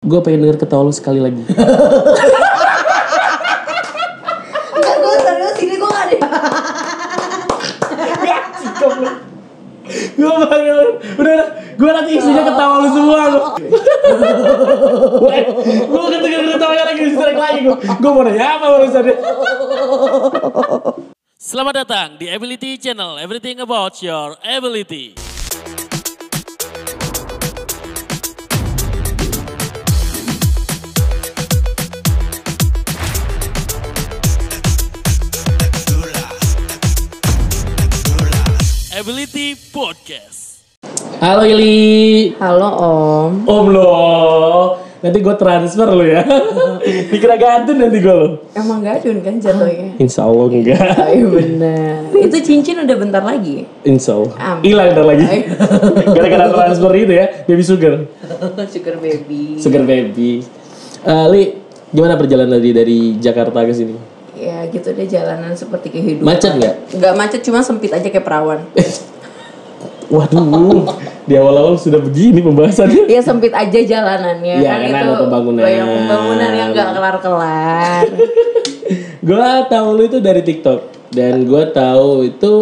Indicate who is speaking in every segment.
Speaker 1: Gue pengen denger ketawa lu sekali lagi.
Speaker 2: Enggak, gue serius ini gue gak ada.
Speaker 1: gue panggil lu. Udah, udah. Gue nanti isinya ketawa lu semua lu. Gue ketika ketawa lagi di strike lagi gue. Gue mau nanya apa barusan ya?
Speaker 3: Selamat datang di Ability Channel, everything about your ability. Ability Podcast.
Speaker 1: Halo Ili.
Speaker 2: Halo Om.
Speaker 1: Om lo. Nanti gue transfer lu ya. Dikira gantun nanti gue lo.
Speaker 2: Emang gadun kan jatuhnya?
Speaker 1: Insya Allah enggak.
Speaker 2: Ayo bener. Itu cincin udah bentar lagi.
Speaker 1: Insya Allah.
Speaker 2: Amin.
Speaker 1: Hilang ntar lagi.
Speaker 2: Ayo. Iya.
Speaker 1: Gara-gara transfer itu ya. Baby sugar.
Speaker 2: Sugar baby.
Speaker 1: Sugar baby. Eh, Li, gimana perjalanan dari dari Jakarta ke sini?
Speaker 2: Ya gitu deh jalanan seperti kehidupan.
Speaker 1: Macet nggak?
Speaker 2: Nggak macet Iya, cuma sempit aja kayak perawan.
Speaker 1: Waduh, di awal-awal sudah begini pembahasannya.
Speaker 2: Ya sempit aja jalanannya
Speaker 1: Iya, karena ada pembangunan.
Speaker 2: banyak pembangunan yang nggak kelar-kelar.
Speaker 1: Gua tahu lu itu dari TikTok dan gua tahu itu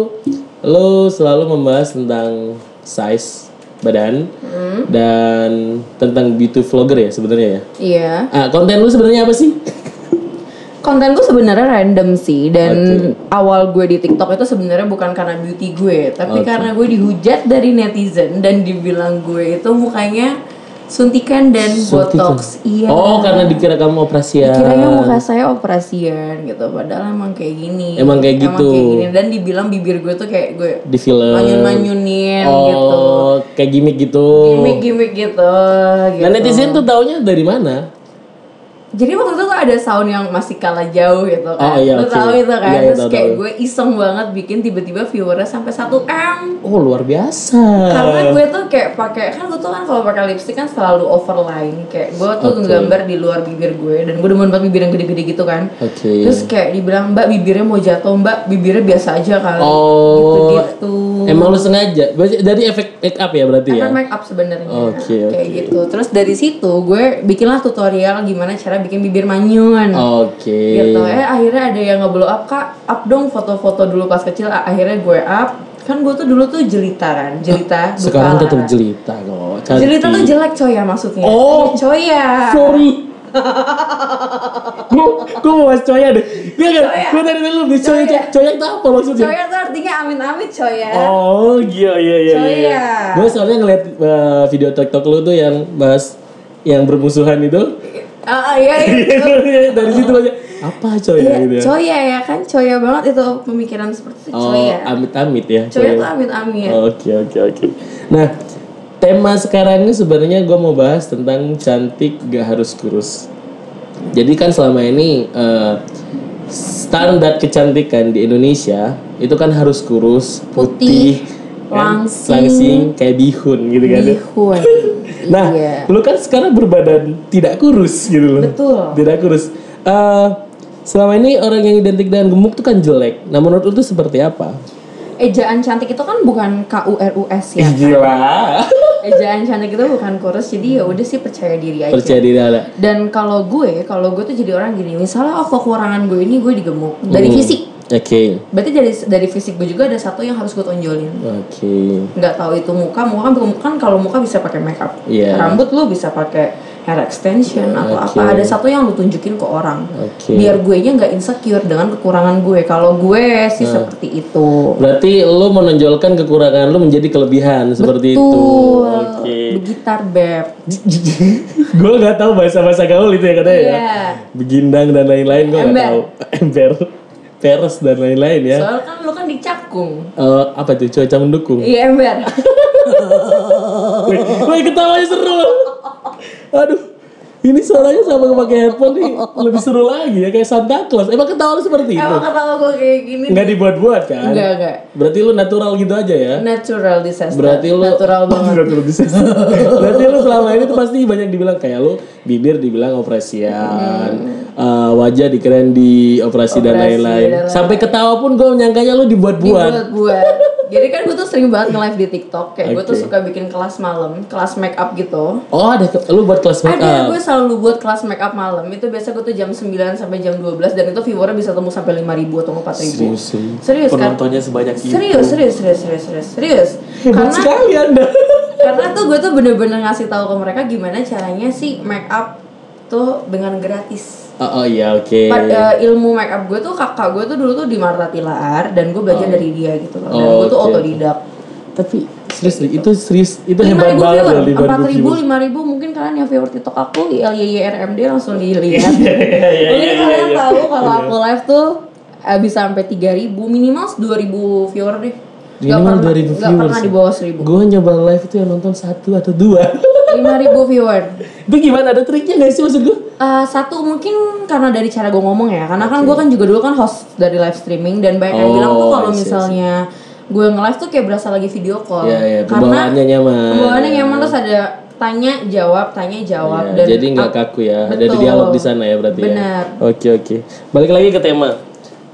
Speaker 1: lu selalu membahas tentang size badan
Speaker 2: Hmm.
Speaker 1: dan tentang beauty vlogger ya sebenarnya ya.
Speaker 2: Iya.
Speaker 1: Ah, konten lu sebenarnya apa sih?
Speaker 2: Konten gue sebenarnya random sih dan
Speaker 1: Oke.
Speaker 2: awal gue di TikTok itu sebenarnya bukan karena beauty gue, tapi karena gue dihujat dari netizen dan dibilang gue itu mukanya suntikan dan botox. Iya.
Speaker 1: Oh, iya. karena dikira kamu operasian.
Speaker 2: Kiranya muka saya operasian gitu, padahal emang kayak gini.
Speaker 1: Emang kayak gitu. Eh.
Speaker 2: gini dan dibilang bibir gue tuh kayak gue
Speaker 1: di film.
Speaker 2: manyun-manyunin
Speaker 1: oh,
Speaker 2: gitu.
Speaker 1: kayak gimmick gitu.
Speaker 2: Gimik-gimik gitu, gitu.
Speaker 1: Nah, netizen tuh taunya dari mana?
Speaker 2: Jadi waktu itu tuh ada sound yang masih kalah jauh gitu
Speaker 1: Oh,
Speaker 2: kan.
Speaker 1: iya,
Speaker 2: Lu
Speaker 1: oke.
Speaker 2: tahu itu kan.
Speaker 1: Iya, iya,
Speaker 2: Terus
Speaker 1: tahu,
Speaker 2: kayak
Speaker 1: tahu.
Speaker 2: gue iseng banget bikin tiba-tiba viewernya sampai 1 M.
Speaker 1: Oh, luar biasa.
Speaker 2: Karena gue tuh kayak pakai kan gue tuh kan kalau pakai lipstick kan selalu overline kayak gue tuh
Speaker 1: Oke.
Speaker 2: gambar di luar bibir gue dan gue demen banget bibir yang gede-gede gitu kan.
Speaker 1: Oke.
Speaker 2: Terus kayak dibilang Mbak bibirnya mau jatuh Mbak bibirnya biasa aja kali.
Speaker 1: Oh,
Speaker 2: gitu-gitu.
Speaker 1: Emang lu sengaja? Berarti Dari efek make up ya berarti ya?
Speaker 2: Efek make up sebenarnya
Speaker 1: Oke,
Speaker 2: kayak
Speaker 1: oke.
Speaker 2: gitu. Terus dari situ gue bikinlah tutorial gimana cara bikin bibir manyun.
Speaker 1: Oke.
Speaker 2: gitu eh akhirnya ada yang ngeblow up kak up dong foto-foto dulu pas kecil A- akhirnya gue up kan gue tuh dulu tuh jelitaran jelita bukan
Speaker 1: Sekarang tetap
Speaker 2: laran.
Speaker 1: jelita kok. Cantik.
Speaker 2: jelita tuh jelek coy ya maksudnya
Speaker 1: Oh.
Speaker 2: coy ya
Speaker 1: Sorry. Gue gue mau bahas coya deh. Iya kan?
Speaker 2: Coya.
Speaker 1: Gue tadi dulu nih coya
Speaker 2: Coya.
Speaker 1: coya itu apa maksudnya?
Speaker 2: coy tuh artinya amit-amit coy ya
Speaker 1: Oh, iya iya iya.
Speaker 2: Coya.
Speaker 1: iya. Gue soalnya ngeliat uh, video TikTok lu tuh yang bahas yang bermusuhan itu.
Speaker 2: Ah, ah, iya, iya.
Speaker 1: Dari situ aja. Apa coya
Speaker 2: Iya,
Speaker 1: gitu ya?
Speaker 2: coy ya ya kan coy ya banget itu pemikiran seperti itu
Speaker 1: Oh,
Speaker 2: coy ya
Speaker 1: amit-amit ya.
Speaker 2: coy
Speaker 1: coya. Oh,
Speaker 2: tuh amit-amit
Speaker 1: Oke oke oke. Nah tema sekarang ini sebenarnya gue mau bahas tentang cantik gak harus kurus. Jadi kan selama ini eh, standar kecantikan di Indonesia itu kan harus kurus, putih,
Speaker 2: Putih,
Speaker 1: kan,
Speaker 2: langsing. Iya.
Speaker 1: kayak bihun gitu kan.
Speaker 2: bihun
Speaker 1: Nah,
Speaker 2: iya
Speaker 1: lu kan sekarang berbadan tidak kurus gitu loh.
Speaker 2: Betul.
Speaker 1: Tidak kurus. Eh, selama ini orang yang identik dengan gemuk tuh kan jelek. Nah, menurut lu tuh seperti apa?
Speaker 2: ejaan cantik itu kan bukan KURUS ya
Speaker 1: Ih, Gila.
Speaker 2: Ejaan cantik itu bukan kurus, jadi ya udah sih percaya diri aja.
Speaker 1: Percaya diri ada.
Speaker 2: Dan kalau gue, kalau gue tuh jadi orang gini, misalnya oh kekurangan gue ini gue digemuk dari
Speaker 1: Hmm.
Speaker 2: fisik.
Speaker 1: Oke,
Speaker 2: Berarti dari dari fisik gue juga ada satu yang harus gue tonjolin.
Speaker 1: oke.
Speaker 2: Nggak tahu itu muka, muka kan kan kalau muka bisa pakai makeup,
Speaker 1: Iya.
Speaker 2: rambut lu bisa pakai hair extension atau
Speaker 1: Oke.
Speaker 2: apa. Ada satu yang lu tunjukin ke orang.
Speaker 1: Oke.
Speaker 2: Biar gue nya nggak insecure dengan kekurangan gue. Kalau gue sih
Speaker 1: Nah.
Speaker 2: seperti itu.
Speaker 1: Berarti lu menonjolkan kekurangan lu menjadi kelebihan seperti itu.
Speaker 2: Betul.
Speaker 1: Oke.
Speaker 2: Begitar beb.
Speaker 1: gue nggak tahu bahasa-bahasa gaul itu ya katanya ya.
Speaker 2: Iya.
Speaker 1: Begindang dan lain-lain gue nggak
Speaker 2: Ember.
Speaker 1: tahu. Ember, peres dan lain-lain ya.
Speaker 2: Soalnya kan lu kan dicakung.
Speaker 1: Eh, apa tuh cuaca mendukung?
Speaker 2: Iya ember.
Speaker 1: Gitu. Woi ketawanya seru. Aduh, ini suaranya sama pakai headphone nih lebih seru lagi ya kayak Santa Claus. Emang ketawa lu seperti itu?
Speaker 2: Emang ketawa gue kayak gini.
Speaker 1: Nggak dibuat-buat kan?
Speaker 2: Enggak enggak.
Speaker 1: Berarti lu natural gitu aja ya?
Speaker 2: Natural disaster.
Speaker 1: Berarti lu
Speaker 2: natural banget.
Speaker 1: Natural disaster. Berarti lu selama ini tuh pasti banyak dibilang kayak lu bibir dibilang operasian, eh, wajah dikeren di operasi, dan
Speaker 2: Operasi
Speaker 1: lain-lain.
Speaker 2: dan lain-lain.
Speaker 1: Sampai ketawa pun gue menyangkanya lu dibuat-buat.
Speaker 2: Dibuat buat. Jadi kan gue tuh sering banget nge-live di TikTok kayak gue tuh
Speaker 1: Oke.
Speaker 2: suka bikin kelas malam, kelas make up gitu.
Speaker 1: Oh ada ke- lu buat kelas make
Speaker 2: Ada,
Speaker 1: up.
Speaker 2: gue selalu buat kelas make up malam. Itu biasa gue tuh jam 9 sampai jam 12 dan itu viewernya bisa tembus sampai 5000 atau 4000.
Speaker 1: Serius, serius.
Speaker 2: Serius kan?
Speaker 4: penontonnya sebanyak itu
Speaker 2: Serius, serius, serius, serius, serius, serius.
Speaker 1: Hebat
Speaker 2: Karena
Speaker 1: sekali anda.
Speaker 2: karena tuh gue tuh bener-bener ngasih tahu ke mereka gimana caranya sih make up tuh dengan gratis.
Speaker 1: Oh, oh iya oke.
Speaker 2: Pada ilmu make up gue tuh kakak gue tuh dulu tuh di Marta Tilaar dan gue belajar dari dia gitu loh. Dan gue tuh
Speaker 1: Oh. Oke.
Speaker 2: otodidak.
Speaker 1: Tapi serius nih, itu serius itu hebat
Speaker 2: 5000
Speaker 1: banget
Speaker 2: viewer,
Speaker 1: loh di
Speaker 2: 4000, 5000 mungkin kalian yang viewer TikTok aku ya, ILYYRMD langsung
Speaker 1: Iya,
Speaker 2: dilihat. Mungkin kalian tahu kalau aku live tuh habis sampai 3000 minimal 2000 viewer deh. Nggak
Speaker 1: Minimal
Speaker 2: pernah-
Speaker 1: 2000
Speaker 2: nggak pernah
Speaker 1: viewers.
Speaker 2: di bawah 1000.
Speaker 1: Gue nyoba live itu yang nonton satu atau dua.
Speaker 2: 5000 viewer.
Speaker 1: itu gimana ada triknya gak sih maksud gue?
Speaker 2: Eh, satu mungkin karena dari cara gue ngomong ya karena kan gue kan juga dulu kan host dari live streaming dan banyak yang
Speaker 1: Oh,
Speaker 2: bilang tuh
Speaker 1: I see, I
Speaker 2: kalau
Speaker 1: see.
Speaker 2: misalnya gue nge-live tuh kayak berasa lagi video call
Speaker 1: Iya, iya,
Speaker 2: karena
Speaker 1: pembawaannya nyaman.
Speaker 2: pembawaannya nyaman terus ada tanya jawab tanya jawab
Speaker 1: Ya,
Speaker 2: dan
Speaker 1: jadi nggak kaku ya, ada
Speaker 2: Betul.
Speaker 1: dialog di sana ya berarti
Speaker 2: Benar.
Speaker 1: ya. Oke oke. Balik lagi ke tema.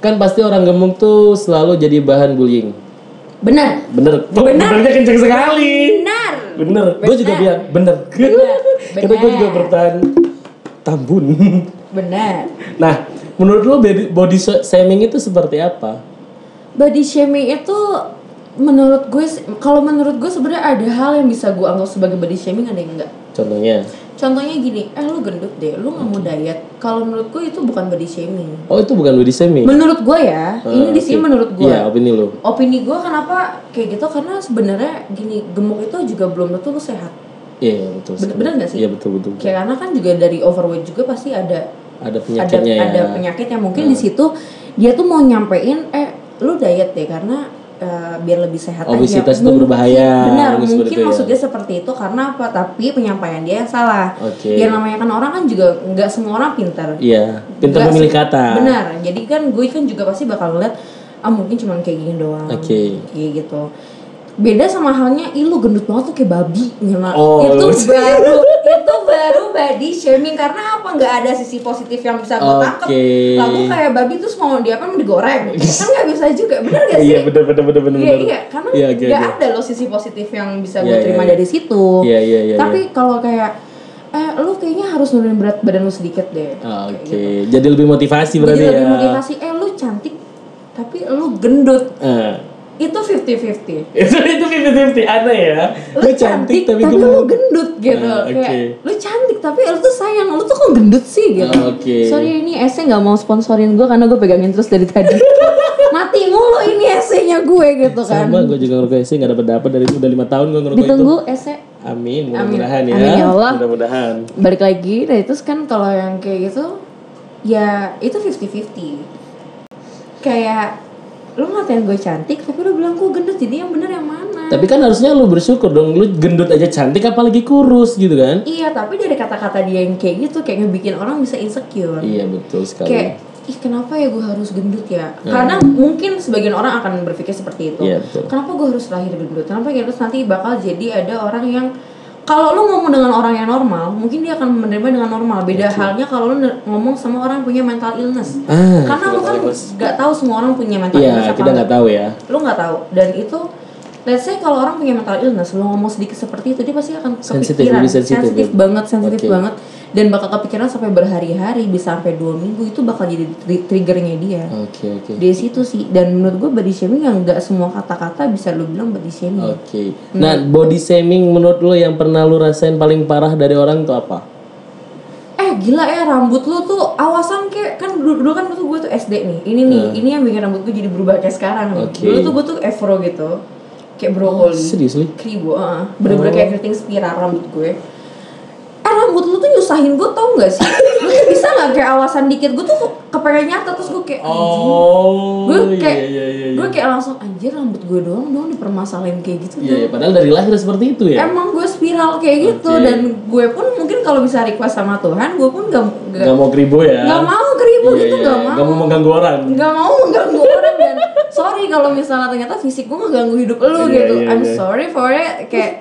Speaker 1: Kan pasti orang gemuk tuh selalu jadi bahan bullying.
Speaker 2: benar
Speaker 1: Bener. Bener. Benernya kenceng sekali.
Speaker 2: benar
Speaker 1: Bener. Gue juga
Speaker 2: Bener.
Speaker 1: bilang bener. Karena gue juga
Speaker 2: Bener.
Speaker 1: bertahan tambun.
Speaker 2: benar
Speaker 1: nah, menurut lo body- body shaming itu seperti apa?
Speaker 2: body shaming itu menurut gue se- kalau menurut gue sebenarnya ada hal yang bisa gue anggap sebagai body shaming ada yang enggak
Speaker 1: Contohnya.
Speaker 2: contohnya gini eh lu gendut deh lu nggak mau diet kalau menurut gue itu bukan body shaming
Speaker 1: Oh itu bukan body shaming.
Speaker 2: Menurut gue ya, ini di
Speaker 1: Eh,
Speaker 2: sini
Speaker 1: oke.
Speaker 2: menurut gue.
Speaker 1: Iya, opini lo.
Speaker 2: Opini gue kenapa kayak gitu karena sebenarnya gini gemuk itu juga belum tentu lu sehat.
Speaker 1: Iya iya, betul.
Speaker 2: Bener-
Speaker 1: sekali.
Speaker 2: bener nggak sih?
Speaker 1: Iya betul betul.
Speaker 2: Kayak karena kan juga dari overweight juga pasti ada
Speaker 1: Ada penyakitnya
Speaker 2: ada, ada
Speaker 1: ya.
Speaker 2: penyakitnya mungkin di situ dia tuh mau nyampein eh lu diet deh karena eh, biar lebih sehat
Speaker 1: Obesitas
Speaker 2: aja.
Speaker 1: itu
Speaker 2: Mungkin-
Speaker 1: berbahaya,
Speaker 2: Benar,
Speaker 1: mungkin
Speaker 2: mungkin,
Speaker 1: seperti itu ya.
Speaker 2: maksudnya seperti itu karena apa? Tapi penyampaian dia yang salah.
Speaker 1: Oke.
Speaker 2: Ya namanya kan orang kan juga nggak semua orang pintar.
Speaker 1: Iya. Pintar
Speaker 2: Nggak
Speaker 1: memilih
Speaker 2: sih.
Speaker 1: kata.
Speaker 2: Benar. Jadi kan gue kan juga pasti bakal ngeliat ah mungkin cuman kayak gini doang.
Speaker 1: Oke.
Speaker 2: Kayak gitu. Beda sama halnya ih lu gendut banget tuh kayak babi Nyala-
Speaker 1: Oh,
Speaker 2: itu
Speaker 1: lu-
Speaker 2: baru itu baru body shaming karena apa nggak ada sisi positif yang bisa gue tangkap.
Speaker 1: Oke.
Speaker 2: Lalu kayak babi terus mau dia apa mau digoreng. kan nggak bisa juga. Benar gak sih?
Speaker 1: Iya bener bener bener bener.
Speaker 2: Iya
Speaker 1: bener.
Speaker 2: iya karena
Speaker 1: Iya,
Speaker 2: nggak
Speaker 1: oke, oke.
Speaker 2: ada loh sisi positif yang
Speaker 1: Iya,
Speaker 2: bisa gue
Speaker 1: iya,
Speaker 2: terima
Speaker 1: iya.
Speaker 2: dari situ.
Speaker 1: Iya, iya, iya,
Speaker 2: Tapi kalau kayak eh lu kayaknya harus nurunin berat badan lu sedikit deh.
Speaker 1: Ah, Oke,
Speaker 2: Kayak gitu.
Speaker 1: jadi lebih motivasi berarti
Speaker 2: Jadi
Speaker 1: ya.
Speaker 2: lebih motivasi eh lu cantik tapi lu gendut.
Speaker 1: Ah.
Speaker 2: Itu 50-50.
Speaker 1: itu itu fifty fifty aneh ya.
Speaker 2: Lu,
Speaker 1: Lu cantik tapi gue
Speaker 2: lu gendut gitu.
Speaker 1: Ah, oke.
Speaker 2: Kayak lu cantik tapi lu tuh sayang, lu tuh kok gendut sih gitu.
Speaker 1: Ah, oke.
Speaker 2: Sorry ini esnya nggak mau sponsorin gue karena gue pegangin terus dari tadi. Mati mulu ini esnya gue gitu kan.
Speaker 1: Sama gue juga ngerokok sih nggak dapat dapat dari udah lima tahun gue ngerokok itu.
Speaker 2: Ditunggu esnya
Speaker 1: Amin, mudah-mudahan ya.
Speaker 2: Amin, ya Allah.
Speaker 1: Mudah-mudahan.
Speaker 2: balik lagi nah itu kan kalau yang kayak gitu ya itu 50-50 kayak lu ngatain gue cantik tapi lu bilang gue gendut jadi yang bener yang mana
Speaker 1: Tapi kan harusnya lu bersyukur dong, lu gendut aja cantik apalagi kurus gitu kan?
Speaker 2: iya tapi dari kata-kata dia yang kayak gitu kayak ngebikin orang bisa insecure
Speaker 1: Iya betul sekali.
Speaker 2: kayak ih kenapa ya gue harus gendut ya karena mungkin sebagian orang akan berpikir seperti itu
Speaker 1: Iya, betul.
Speaker 2: kenapa gue harus lahir gendut kenapa ya terus nanti bakal jadi ada orang yang kalau lu ngomong dengan orang yang normal mungkin dia akan menerima dengan normal beda halnya kalau lu ne- ngomong sama orang yang punya mental illness
Speaker 1: Ah,
Speaker 2: karena lu kan nggak tahu semua orang punya mental illness
Speaker 1: Iya,
Speaker 2: apa
Speaker 1: kita nggak
Speaker 2: enggak.
Speaker 1: tahu ya.
Speaker 2: lu nggak tahu dan itu let's say kalau orang punya mental illness lu ngomong sedikit seperti itu dia pasti akan
Speaker 1: Sensitif,
Speaker 2: kepikiran
Speaker 1: lebih sensitif,
Speaker 2: sensitif
Speaker 1: ya.
Speaker 2: banget sensitif
Speaker 1: Oke.
Speaker 2: banget dan bakal kepikiran sampai berhari-hari bisa sampai dua minggu itu bakal jadi tri- triggernya dia
Speaker 1: Oke oke.
Speaker 2: dari situ sih dan menurut gue body shaming yang nggak semua kata-kata bisa lu bilang body shaming
Speaker 1: Oke. Nah, body shaming menurut lu yang pernah lu rasain paling parah dari orang itu apa?
Speaker 2: eh gila ya rambut lu tuh awasan kayak kan dulu, dulu kan tuh gue tuh SD nih ini nih ini yang bikin rambut gue jadi berubah kayak sekarang nih
Speaker 1: Nah. Oke. Oh,
Speaker 2: dulu tuh gue tuh afro gitu kayak brokoli
Speaker 1: Serius lu? Oh.
Speaker 2: kribo heeh. bener-bener kayak keriting spiral rambut gue eh rambut lu tuh nyusahin gue tau gak sih lu tuh bisa gak kayak awasan dikit gue tuh kepengen nyata terus gue kayak anjing.
Speaker 1: Oh,
Speaker 2: gue kayak gue kayak langsung anjir rambut gue doang doang dipermasalahin kayak gitu
Speaker 1: Iya, iya, padahal dari lahir seperti itu ya.
Speaker 2: Emang gue spiral kayak gitu
Speaker 1: Oke.
Speaker 2: dan gue pun mungkin kalau bisa request sama Tuhan, gue pun gak,
Speaker 1: Gak mau keribu ya.
Speaker 2: Gak mau keribu
Speaker 1: Iya,
Speaker 2: gitu,
Speaker 1: iya,
Speaker 2: gak
Speaker 1: iya.
Speaker 2: mau.
Speaker 1: Gak mau mengganggu orang.
Speaker 2: Gak mau mengganggu orang dan sorry kalau misalnya ternyata fisik gue ngeganggu hidup lu
Speaker 1: Iya,
Speaker 2: gitu.
Speaker 1: iya,
Speaker 2: I'm
Speaker 1: iya.
Speaker 2: sorry for it kayak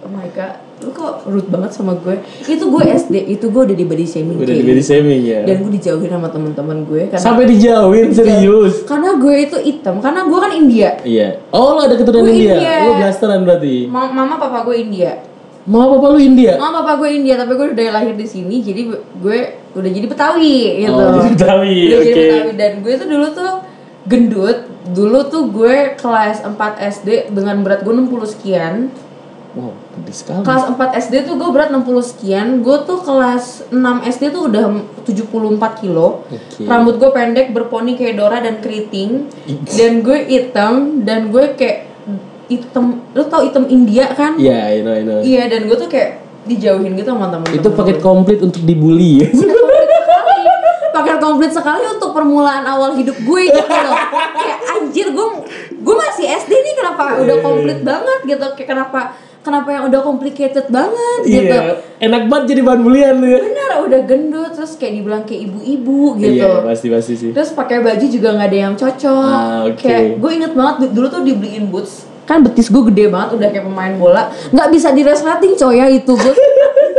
Speaker 2: oh my god. lu kok rude banget sama gue itu gue SD itu gue udah di body shaming
Speaker 1: Udah di
Speaker 2: Ki.
Speaker 1: body shaming ya.
Speaker 2: dan gue dijauhin sama teman-teman gue karena
Speaker 1: Sampai
Speaker 2: Iya.
Speaker 1: dijauhin serius.
Speaker 2: karena gue itu hitam karena gue kan India
Speaker 1: Iya. Oh lo ada keturunan
Speaker 2: Gue
Speaker 1: India.
Speaker 2: India.
Speaker 1: Lo blasteran berarti.
Speaker 2: Ma- mama papa gue India
Speaker 1: Mau apa lu India?
Speaker 2: mama papa gue India tapi gue udah dari lahir di sini jadi gue udah jadi Betawi gitu
Speaker 1: Oh, jadi Betawi,
Speaker 2: udah jadi
Speaker 1: oke.
Speaker 2: Betawi dan gue tuh dulu tuh gendut dulu tuh gue kelas 4 SD dengan berat gue 60 sekian
Speaker 1: Wow, gede sekali.
Speaker 2: kelas 4 SD tuh gue berat 60 sekian gue tuh kelas 6 SD tuh udah 74 kilo
Speaker 1: Oke.
Speaker 2: rambut gue pendek berponi kayak Dora dan keriting dan gue hitam dan gue kayak hitam lu tau hitam India kan
Speaker 1: Iya, I know, I know.
Speaker 2: iya dan gue tuh kayak dijauhin gitu sama temen
Speaker 1: Itu paket komplit untuk dibully. ya?
Speaker 2: paket komplit sekali untuk permulaan awal hidup gue gitu loh kayak anjir gue gue masih SD nih
Speaker 1: Iya,
Speaker 2: kenapa udah komplit banget gitu kayak kenapa kenapa yang udah complicated banget gitu
Speaker 1: Iya. Enak banget jadi bahan bulian lu ya.
Speaker 2: benar udah gendut terus kayak dibilang kayak ibu-ibu gitu
Speaker 1: Iya, pasti pasti sih.
Speaker 2: terus pakai baju juga nggak ada yang cocok
Speaker 1: Ah, oke.
Speaker 2: kayak gue inget banget du- dulu tuh dibeliin boots kan betis gue gede banget udah kayak pemain bola nggak bisa di resleting coy ya itu gue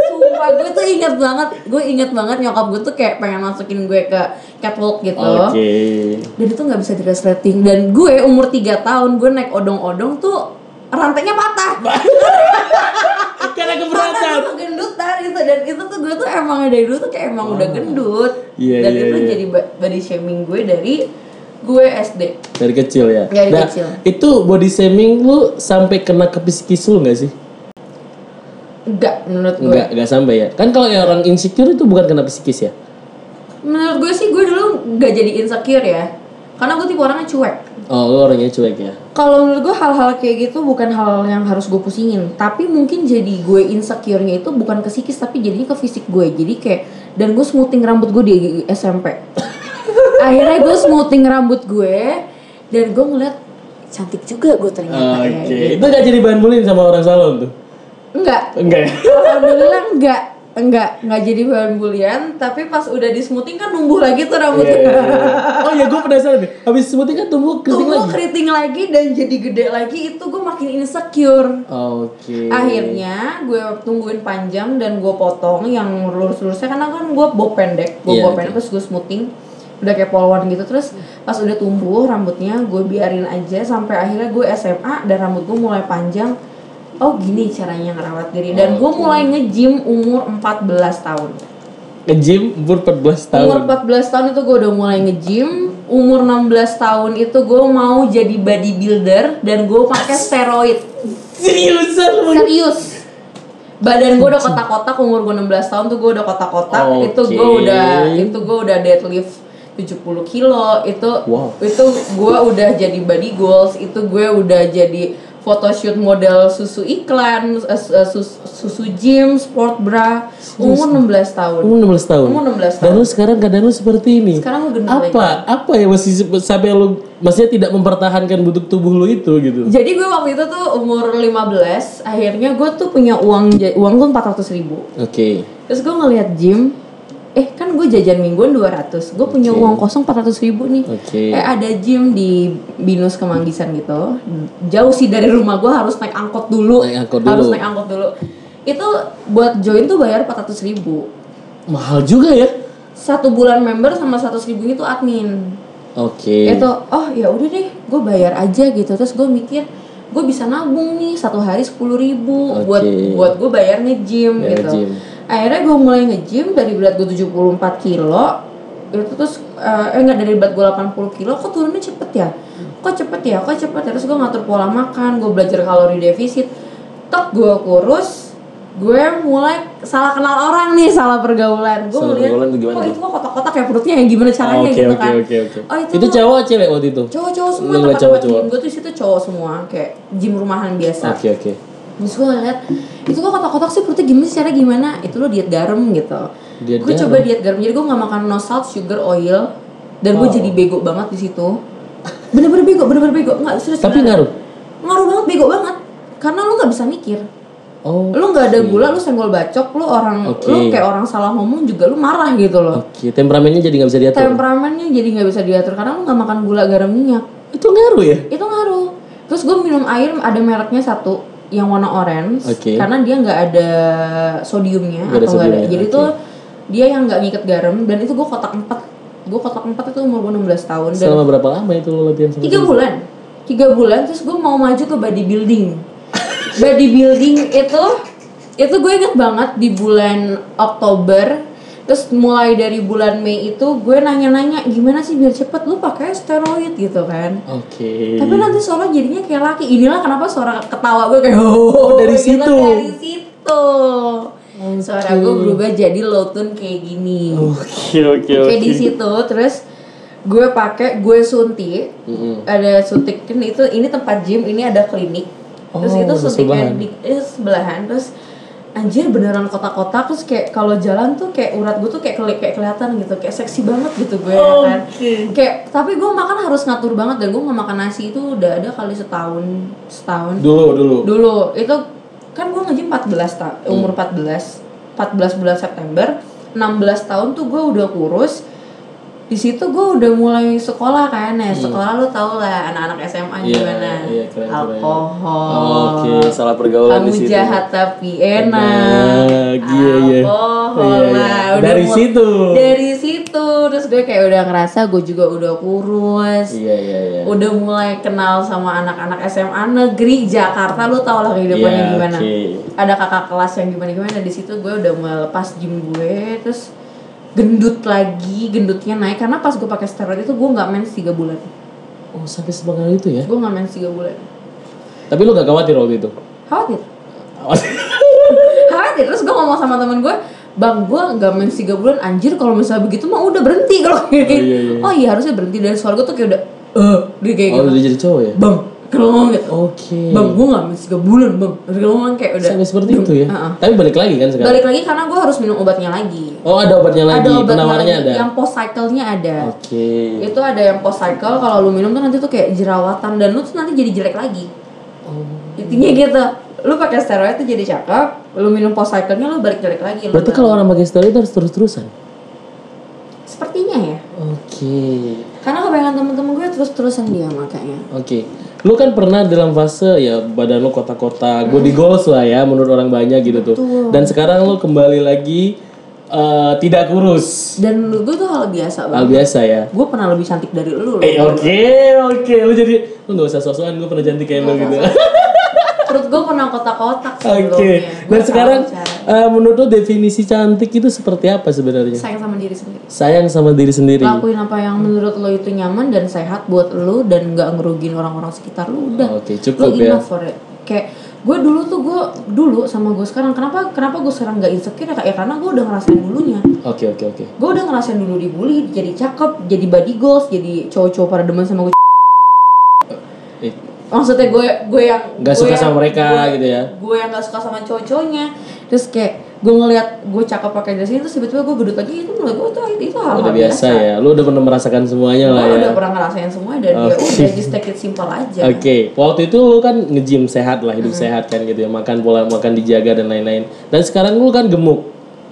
Speaker 2: sumpah gue tuh inget banget gue inget banget nyokap gue tuh kayak pengen masukin gue ke catwalk gitu
Speaker 1: Oke. iya.
Speaker 2: dan itu nggak bisa di resleting dan gue umur 3 tahun gue naik odong-odong tuh rantainya patah
Speaker 1: Karena
Speaker 2: Mata
Speaker 1: keberatan.
Speaker 2: gue gendutan gitu dan itu tuh gue tuh emang dari dulu tuh kayak emang udah gendut
Speaker 1: Ah. Iya,
Speaker 2: dan
Speaker 1: iya,
Speaker 2: itu
Speaker 1: iya.
Speaker 2: jadi ba- body shaming gue dari gue SD
Speaker 1: Dari kecil ya.
Speaker 2: Dari kecil.
Speaker 1: Itu body shaming lu sampai kena ke psikis lu nggak sih?
Speaker 2: enggak menurut gue
Speaker 1: Enggak, enggak sampai ya. Kan kalau yang orang insecure itu bukan kena psikis ya.
Speaker 2: menurut gue sih gue dulu nggak jadi insecure ya karena gue tipe orangnya cuek
Speaker 1: Oh, lu orangnya cuek ya.
Speaker 2: kalau menurut gue hal-hal kayak gitu bukan hal yang harus gue pusingin tapi mungkin jadi gue insecure-nya itu bukan ke psikis tapi jadinya ke fisik gue jadi kayak dan gue smoothing rambut gue di SMP akhirnya gue smoothing rambut gue dan gue ngeliat cantik juga gue ternyata
Speaker 1: Oke,
Speaker 2: ya
Speaker 1: itu gak jadi bahan bullying sama orang salon tuh?
Speaker 2: enggak
Speaker 1: Enggak ya?
Speaker 2: alhamdulillah enggak enggak enggak jadi bahan bulian tapi pas udah di smoothing kan numbuh lagi tuh
Speaker 3: Iya,
Speaker 2: rambutnya
Speaker 1: Oh ya gue penasaran deh, habis smoothing kan tumbuh keriting
Speaker 2: tumbuh
Speaker 1: lagi?
Speaker 2: keriting lagi dan jadi gede lagi itu gue makin insecure
Speaker 1: Oke
Speaker 2: akhirnya gue tungguin panjang dan gue potong yang lurus-lurusnya karena kan gue bob pendek gue
Speaker 1: Iya,
Speaker 2: bob
Speaker 1: oke.
Speaker 2: pendek terus gue smoothing udah kayak polwan gitu terus pas udah tumbuh rambutnya gue biarin aja sampai akhirnya gue SMA dan rambut gue mulai panjang oh gini caranya ngerawat diri dan gue mulai nge-gym umur 14 tahun
Speaker 1: Ke gym umur 14 tahun
Speaker 2: umur 14 tahun itu gue udah mulai nge-gym umur 16 tahun itu gue mau jadi bodybuilder dan gue pakai steroid
Speaker 1: Seriusan lu?
Speaker 2: serius badan gue udah kotak-kotak umur gue 16 tahun tuh gue udah kotak-kotak itu gue
Speaker 1: Oke.
Speaker 2: udah itu gue udah deadlift 70 kilo itu
Speaker 1: Wow.
Speaker 2: itu gue udah jadi body goals itu gue udah jadi photoshoot model susu iklan eh, su- eh, sus- susu gym sport bra umur 16 tahun
Speaker 1: Umur 16 tahun?
Speaker 2: Umur 16 tahun.
Speaker 1: Dan lu sekarang keadaan lu seperti ini?
Speaker 2: Sekarang lu gendut
Speaker 1: Apa? Apa ya masih se- sampai lu Maksudnya tidak mempertahankan bentuk tubuh lu itu gitu?
Speaker 2: jadi gue waktu itu tuh umur 15 akhirnya gue tuh punya uang ja- uang tuh 400 ribu
Speaker 1: Oke
Speaker 2: Terus gue ngeliat gym Eh kan gue jajan mingguan 200 Gue punya uang kosong 400 ribu nih
Speaker 1: Oke.
Speaker 2: Eh ada gym di Binus Kemanggisan gitu Jauh sih dari rumah gue harus naik angkot dulu
Speaker 1: Naik angkot
Speaker 2: Harus
Speaker 1: dulu.
Speaker 2: naik angkot dulu Itu buat join tuh bayar 400 ribu
Speaker 1: Mahal juga ya?
Speaker 2: Satu bulan member sama 100 ribu itu admin
Speaker 1: Oke
Speaker 2: Itu oh ya udah deh gue bayar aja gitu Terus gue mikir gue bisa nabung nih satu hari 10 ribu buat
Speaker 1: Oke.
Speaker 2: buat gue bayar nge-gym
Speaker 1: Bayar
Speaker 2: gitu
Speaker 1: nge-gym.
Speaker 2: akhirnya gue mulai nge-gym dari berat gue 74 kilo itu terus eh eh, enggak dari berat gue 80 kilo kok turunnya cepet ya kok cepet ya kok cepet ya terus gue ngatur pola makan gue belajar kalori defisit tok gue kurus gue mulai salah kenal orang nih salah pergaulan gue
Speaker 1: Salah
Speaker 2: ngeliat
Speaker 1: pergaulan tuh gimana
Speaker 2: kok
Speaker 1: tuh? Ah,
Speaker 2: itu kok kotak-kotak ya perutnya ya gimana caranya
Speaker 1: Oke
Speaker 2: gitu
Speaker 1: oke
Speaker 2: kan
Speaker 1: oke oke
Speaker 2: oh itu,
Speaker 1: Itu
Speaker 2: tuh
Speaker 1: cowok cewek waktu itu?
Speaker 2: cowok-cowok semua
Speaker 1: Lu ngeliat
Speaker 2: tempat-tempat
Speaker 1: cowok-cowok?
Speaker 2: gym gue tuh situ cowok semua kayak gym rumahan biasa
Speaker 1: Oke oke
Speaker 2: Terus gue ngeliat, itu kok kotak-kotak sih perutnya gimana secara gimana? Itu lo diet garam gitu.
Speaker 1: Diet
Speaker 2: gue
Speaker 1: garam?
Speaker 2: coba diet garam, jadi gue gak makan no salt, sugar, oil. Dan gue jadi bego banget di situ. Bener-bener bego, bener-bener bego. Enggak, serius.
Speaker 1: Tapi ngaruh?
Speaker 2: beneran. Ngaruh banget, bego banget. Karena lo gak bisa mikir.
Speaker 1: Oh
Speaker 2: Lo gak ada gula, lo senggol bacok, lo orang,
Speaker 1: Oke.
Speaker 2: lo kayak orang salah ngomong juga lo marah gitu loh.
Speaker 1: Oke, temperamennya jadi nggak bisa diatur.
Speaker 2: Temperamennya jadi gak bisa diatur karena lo gak makan gula, garam, minyak.
Speaker 1: itu ngaruh ya?
Speaker 2: Itu ngaruh. Terus gue minum air ada mereknya satu. yang warna orange
Speaker 1: Oke.
Speaker 2: karena dia nggak ada sodiumnya
Speaker 1: Nggak ada
Speaker 2: atau nggak ada.
Speaker 1: sodiumnya,
Speaker 2: Jadi
Speaker 1: oke.
Speaker 2: tuh dia yang nggak ngikat garam dan itu gue kotak 4 gue kotak 4 itu umur gue 16 tahun dan
Speaker 1: Selama berapa lama itu lo latihan sama
Speaker 2: tiga bulan tiga bulan terus gue mau maju ke bodybuilding bodybuilding itu itu gue inget banget di bulan Oktober terus mulai dari bulan Mei itu gue nanya-nanya gimana sih biar cepet lu pakai steroid gitu kan
Speaker 1: Oke.
Speaker 2: tapi nanti suara jadinya kayak laki inilah kenapa suara ketawa gue kayak oh
Speaker 1: dari
Speaker 2: gitu,
Speaker 1: situ.
Speaker 2: dari situ suara gue berubah jadi low tone kayak gini
Speaker 1: Oke oke
Speaker 2: Oke di situ terus gue pakai gue suntik ada suntik kan itu ini tempat gym ini ada klinik terus
Speaker 1: Oh,
Speaker 2: itu suntikan
Speaker 1: sebelahan.
Speaker 2: di eh, sebelahan terus anjir beneran kotak-kotak terus kayak kalau jalan tuh kayak urat gue tuh kayak keli- kayak kelihatan gitu kayak seksi banget gitu gue ya kan kayak tapi gue makan harus ngatur banget dan gue nggak makan nasi itu udah ada kali setahun setahun
Speaker 1: Dulu dulu. Hmm.
Speaker 2: dulu itu kan gue nge-gym 14 ta umur 14 14 bulan September 16 tahun tuh gue udah kurus di situ gue udah mulai sekolah kan ya sekolah lu tau lah anak-anak SMA
Speaker 1: Hmm. Iya,
Speaker 2: gimana
Speaker 1: iya, keren, keren.
Speaker 2: alkohol
Speaker 1: Oke, salah pergaulan
Speaker 2: kamu
Speaker 1: di situ.
Speaker 2: jahat tapi enak
Speaker 1: Nah, iya, iya.
Speaker 2: alkohol
Speaker 1: Iya, iya.
Speaker 2: lah udah
Speaker 1: Dari
Speaker 2: mul-
Speaker 1: situ.
Speaker 2: dari situ terus gue kayak udah ngerasa gue juga udah kurus
Speaker 1: Iya iya iya.
Speaker 2: udah mulai kenal sama anak-anak SMA negeri Jakarta lu tau lah kehidupannya
Speaker 1: Iya,
Speaker 2: gimana
Speaker 1: oke.
Speaker 2: ada kakak kelas yang gimana gimana di situ gue udah mulai lepas gym gue terus gendut lagi gendutnya naik karena pas gue pakai steroid itu gue nggak mens tiga bulan
Speaker 1: Oh sampai sebangga itu ya.
Speaker 2: gue nggak mens tiga bulan
Speaker 1: Tapi lu gak khawatir waktu itu?
Speaker 2: khawatir
Speaker 1: Oh.
Speaker 2: khawatir terus gue ngomong sama temen gue bang gue nggak mens tiga bulan anjir kalau misalnya begitu mah udah berhenti kalau
Speaker 1: Oh,
Speaker 2: kayak
Speaker 1: iya, iya.
Speaker 2: oh iya harusnya berhenti dari suara gue tuh kayak udah eh dia kayak
Speaker 1: oh
Speaker 2: gitu
Speaker 1: udah jadi cowok ya?
Speaker 2: bang kalau ngomong gitu
Speaker 1: Oke.
Speaker 2: Bang, gue gak mens 3 bulan, Bang. Terus gue ngomong kayak udah
Speaker 1: Sampai seperti itu ya.
Speaker 2: Heeh.
Speaker 1: Tapi balik lagi kan sekarang.
Speaker 2: Balik lagi karena gue harus minum obatnya lagi
Speaker 1: Oh ada obatnya lagi,
Speaker 2: Ada obatnya
Speaker 1: penawarnya
Speaker 2: lagi
Speaker 1: ada.
Speaker 2: yang post cycle-nya ada
Speaker 1: Oke.
Speaker 2: Itu ada yang post cycle, kalau lu minum tuh nanti tuh kayak jerawatan Dan lu tuh nanti jadi jelek lagi
Speaker 1: Oh.
Speaker 2: Intinya gitu Lu pakai steroid tuh jadi cakep Lu minum post cycle-nya lu balik jelek lagi lu
Speaker 1: Berarti
Speaker 2: balik.
Speaker 1: kalau orang pakai steroid harus terus-terusan.
Speaker 2: Sepertinya ya
Speaker 1: Oke.
Speaker 2: Karena kebanyakan temen-temen gue terus-terusan dia makanya
Speaker 1: Oke, lu kan pernah dalam fase ya badan lu kotak-kotak, body goals lah ya menurut orang banyak gitu tuh. Dan sekarang lu kembali lagi eh, tidak kurus,
Speaker 2: Dan menurut gue tuh hal biasa
Speaker 1: hal
Speaker 2: banget
Speaker 1: biasa ya.
Speaker 2: Gue pernah lebih cantik dari lu loh
Speaker 1: Eh oke oke, lu jadi lu nggak usah sosokan, gue pernah cantik kayak lu gitu.
Speaker 2: Perut gue pernah kotak-kotak sebelumnya
Speaker 1: Oke,
Speaker 2: Gue
Speaker 1: dan
Speaker 2: tahu
Speaker 1: sekarang
Speaker 2: cara.
Speaker 1: eh, menurut lu definisi cantik itu seperti apa sebenarnya?
Speaker 2: sayang sama diri sendiri
Speaker 1: Sayang sama diri sendiri.
Speaker 2: lakuin apa yang menurut lo itu nyaman dan sehat buat lo dan nggak ngerugiin orang-orang sekitar lo udah
Speaker 1: Oke, cukup
Speaker 2: lo
Speaker 1: ya.
Speaker 2: enough for it kayak gue dulu tuh gue dulu sama gue sekarang kenapa kenapa gue sekarang nggak insecure ya Kak? ya karena gue udah ngerasain dulunya
Speaker 1: Oke oke oke.
Speaker 2: gue udah ngerasain dulu dibully jadi cakep jadi body goals jadi cowok-cowok pada demen sama gue
Speaker 1: Eh,
Speaker 2: maksudnya gue gue yang
Speaker 1: Nggak
Speaker 2: gue
Speaker 1: suka
Speaker 2: yang-
Speaker 1: sama mereka
Speaker 2: gue-
Speaker 1: gitu ya?
Speaker 2: gue yang nggak suka sama cowok-cowoknya terus kayak gue ngeliat gue cakep pakai dress ini terus tiba-tiba gue gedut lagi itu menurut gue itu itu hal,
Speaker 1: udah biasa ya, lu udah pernah merasakan semuanya lah ya.
Speaker 2: Gue kan udah pernah ngerasain semua dan ya
Speaker 1: Oke.
Speaker 2: udah just take it simple aja.
Speaker 1: Oke, waktu itu lu kan nge-gym sehat lah, hidup sehat kan gitu ya, makan pola makan dijaga dan lain-lain. Dan sekarang lu kan gemuk.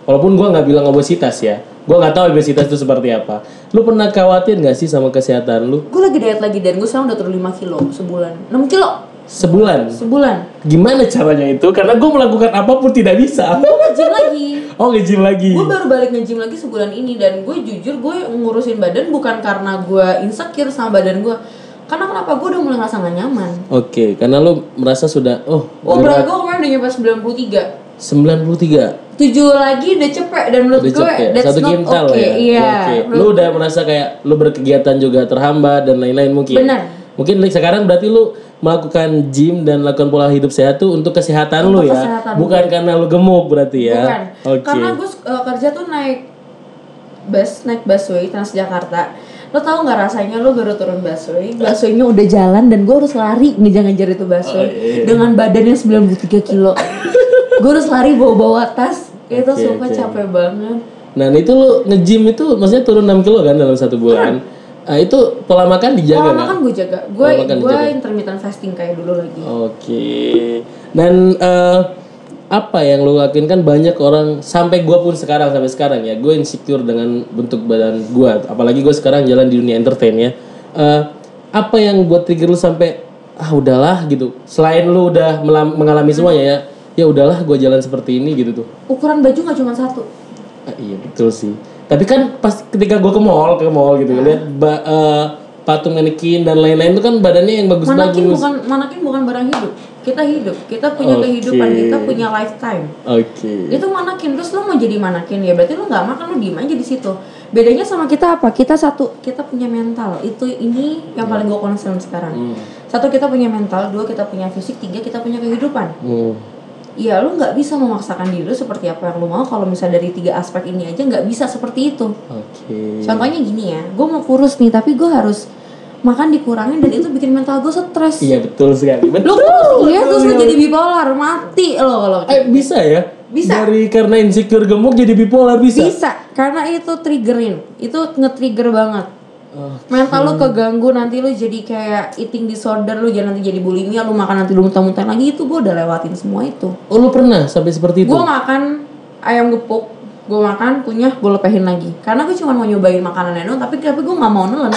Speaker 1: Walaupun gua nggak bilang obesitas ya. Gua nggak tahu obesitas itu seperti apa. Lu pernah khawatir nggak sih sama kesehatan lu
Speaker 2: Gue lagi diet lagi dan gue sekarang udah turun 5 kilo sebulan. 6 kilo
Speaker 1: sebulan?
Speaker 2: sebulan.
Speaker 1: Gimana caranya itu? Karena gua melakukan apapun tidak bisa.
Speaker 2: Gue nge-gym lagi.
Speaker 1: Oh, nge-gym lagi.
Speaker 2: Gue baru balik nge-gym lagi sebulan ini dan gue jujur gue ngurusin badan bukan karena gue insecure sama badan gue. Karena kenapa gue udah mulai ngerasa gak nyaman.
Speaker 1: Oke, karena lu merasa sudah oh,
Speaker 2: Oh, berat
Speaker 1: berat
Speaker 2: gue kemarin udah nyampe
Speaker 1: 93.
Speaker 2: 93. 7 lagi udah cepet dan menurut
Speaker 1: Udah
Speaker 2: gue
Speaker 1: cepet ya?
Speaker 2: that's
Speaker 1: Satu
Speaker 2: not
Speaker 1: kintal
Speaker 2: okay.
Speaker 1: ya.
Speaker 2: Iya.
Speaker 1: Oke. Lu udah merasa kayak lu berkegiatan juga terhambat dan lain-lain mungkin.
Speaker 2: Benar.
Speaker 1: Mungkin like, sekarang berarti lu melakukan gym dan lakukan pola hidup sehat tuh untuk kesehatan lu ya.
Speaker 2: Untuk kesehatan
Speaker 1: Bukan karena lu gemuk berarti ya.
Speaker 2: Bukan.
Speaker 1: Oke.
Speaker 2: Karena gue uh, kerja tuh naik bus, naik busway Transjakarta. Lo tau nggak rasanya lo baru turun busway, busway-nya udah jalan dan gue harus lari ngejar-ngejar itu busway
Speaker 1: Oh, iya, iya.
Speaker 2: dengan badannya 93 kilo. gue harus lari bawa-bawa tas. Itu
Speaker 1: Oke,
Speaker 2: sumpah
Speaker 1: oke.
Speaker 2: capek banget.
Speaker 1: Nah, itu lu nge-gym itu maksudnya turun 6 kilo kan dalam satu bulan. Ah, itu pola makan dijaga
Speaker 2: Pola
Speaker 1: nggak?
Speaker 2: makan gue kan jaga. Gue
Speaker 1: Pola makan
Speaker 2: gue
Speaker 1: dijaga.
Speaker 2: intermittent fasting kayak dulu lagi.
Speaker 1: Oke. Dan eh, apa yang lo lakuin kan banyak orang sampai gua pun sekarang sampai sekarang ya gue insecure dengan bentuk badan gua apalagi gue sekarang jalan di dunia entertain ya Eh, apa yang buat trigger lu sampai ah udahlah gitu. Selain lu udah melam- mengalami semuanya ya, ya udahlah gue jalan seperti ini gitu tuh.
Speaker 2: ukuran baju nggak cuma satu
Speaker 1: Ah, iya betul sih. Tapi kan pas ketika gue ke mall, ke mall gitu lihat ba- eh, patung manekin dan lain-lain itu kan badannya yang
Speaker 2: manakin
Speaker 1: bagus-bagus.
Speaker 2: bukan manakin bukan barang hidup kita hidup kita punya
Speaker 1: Oke.
Speaker 2: kehidupan kita punya lifetime
Speaker 1: Oke.
Speaker 2: itu manakin terus lo mau jadi manakin ya berarti lo nggak makan lo diem aja di situ bedanya sama kita apa kita satu kita punya mental itu ini yang paling gue concern sekarang
Speaker 1: Hmm.
Speaker 2: satu kita punya mental dua kita punya fisik tiga kita punya kehidupan
Speaker 1: Hmm.
Speaker 2: Iya lo nggak bisa memaksakan diri lo seperti apa yang lo mau kalau misalnya dari tiga aspek ini aja nggak bisa seperti itu
Speaker 1: Hmm. Oke.
Speaker 2: contohnya gini ya gue mau kurus nih tapi gue harus makan dikurangin dan itu bikin mental gue stres
Speaker 1: Iya betul sekali.
Speaker 2: lo
Speaker 1: Betul.
Speaker 2: kurus iya terus lo
Speaker 1: betul.
Speaker 2: jadi bipolar mati lo kalau
Speaker 1: Eh bisa ya?
Speaker 2: Bisa.
Speaker 1: Dari karena insecure gemuk jadi bipolar bisa.
Speaker 2: bisa karena itu triggerin itu nge-trigger banget
Speaker 1: Oh,
Speaker 2: mental lu keganggu nanti lu jadi kayak eating disorder lu jadi nanti jadi bulimia lu makan nanti lu muntah-muntah lagi itu gue udah lewatin semua itu
Speaker 1: oh, lu pernah sampai seperti itu?
Speaker 2: gue makan ayam gepuk gue makan kunyah gue lepehin lagi karena gue cuma mau nyobain makanan Neno tapi tapi gue nggak mau nelen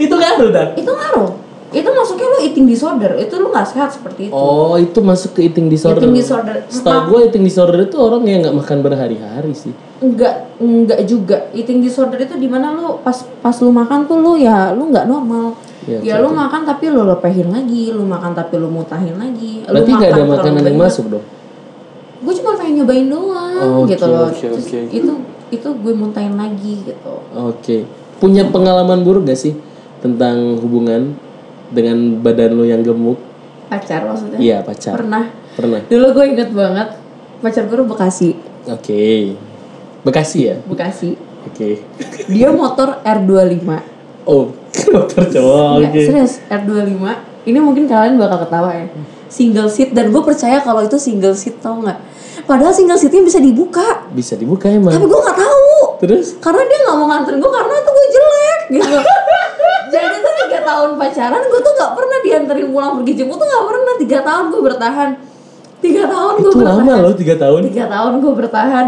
Speaker 1: Itu ngaruh dah.
Speaker 2: itu ngaruh itu masuknya lu eating disorder itu lu nggak sehat seperti itu
Speaker 1: Oh, itu masuk ke eating disorder.
Speaker 2: Eating disorder.
Speaker 1: Setahu gue eating disorder itu orang yang nggak makan berhari-hari sih.
Speaker 2: enggak enggak juga eating disorder itu dimana lu pas pas lu makan tuh lu ya lu nggak normal
Speaker 1: Iya,
Speaker 2: ya lu makan tapi lu lepehin lagi lu makan tapi lu mutahin lagi lu
Speaker 1: Berarti nggak ada
Speaker 2: terlalu
Speaker 1: makanan yang
Speaker 2: banyak.
Speaker 1: masuk dong. Oh,
Speaker 2: gue cuma pengen nyobain doang
Speaker 1: Oke,
Speaker 2: gitu loh
Speaker 1: oke,
Speaker 2: Terus
Speaker 1: oke.
Speaker 2: itu itu gue muntahin lagi gitu
Speaker 1: Oke. Punya pengalaman buruk gak sih tentang hubungan dengan badan lu yang gemuk?
Speaker 2: pacar maksudnya
Speaker 1: Iya, pacar.
Speaker 2: pernah
Speaker 1: Pernah.
Speaker 2: dulu gue inget banget pacar gue tuh Bekasi
Speaker 1: Oke. Bekasi ya?
Speaker 2: Bekasi
Speaker 1: Oke.
Speaker 2: dia motor R25
Speaker 1: Oh, dokter cowok. Oh,
Speaker 2: Iya,
Speaker 1: Oke.
Speaker 2: serius R25 ini mungkin kalian bakal ketawa ya single seat dan gue percaya kalau itu single seat tau nggak padahal single seatnya bisa dibuka
Speaker 1: Bisa dibuka emang.
Speaker 2: tapi gue nggak tahu
Speaker 1: Terus
Speaker 2: karena dia nggak mau nganterin gue karena tuh gue jelek gitu jadi tuh tiga tahun pacaran gue tuh nggak pernah dianterin pulang pergi jemput tuh nggak pernah tiga tahun gue bertahan tiga tahun gue
Speaker 1: itu
Speaker 2: bertahan
Speaker 1: lama loh tiga tahun
Speaker 2: tiga tahun gue bertahan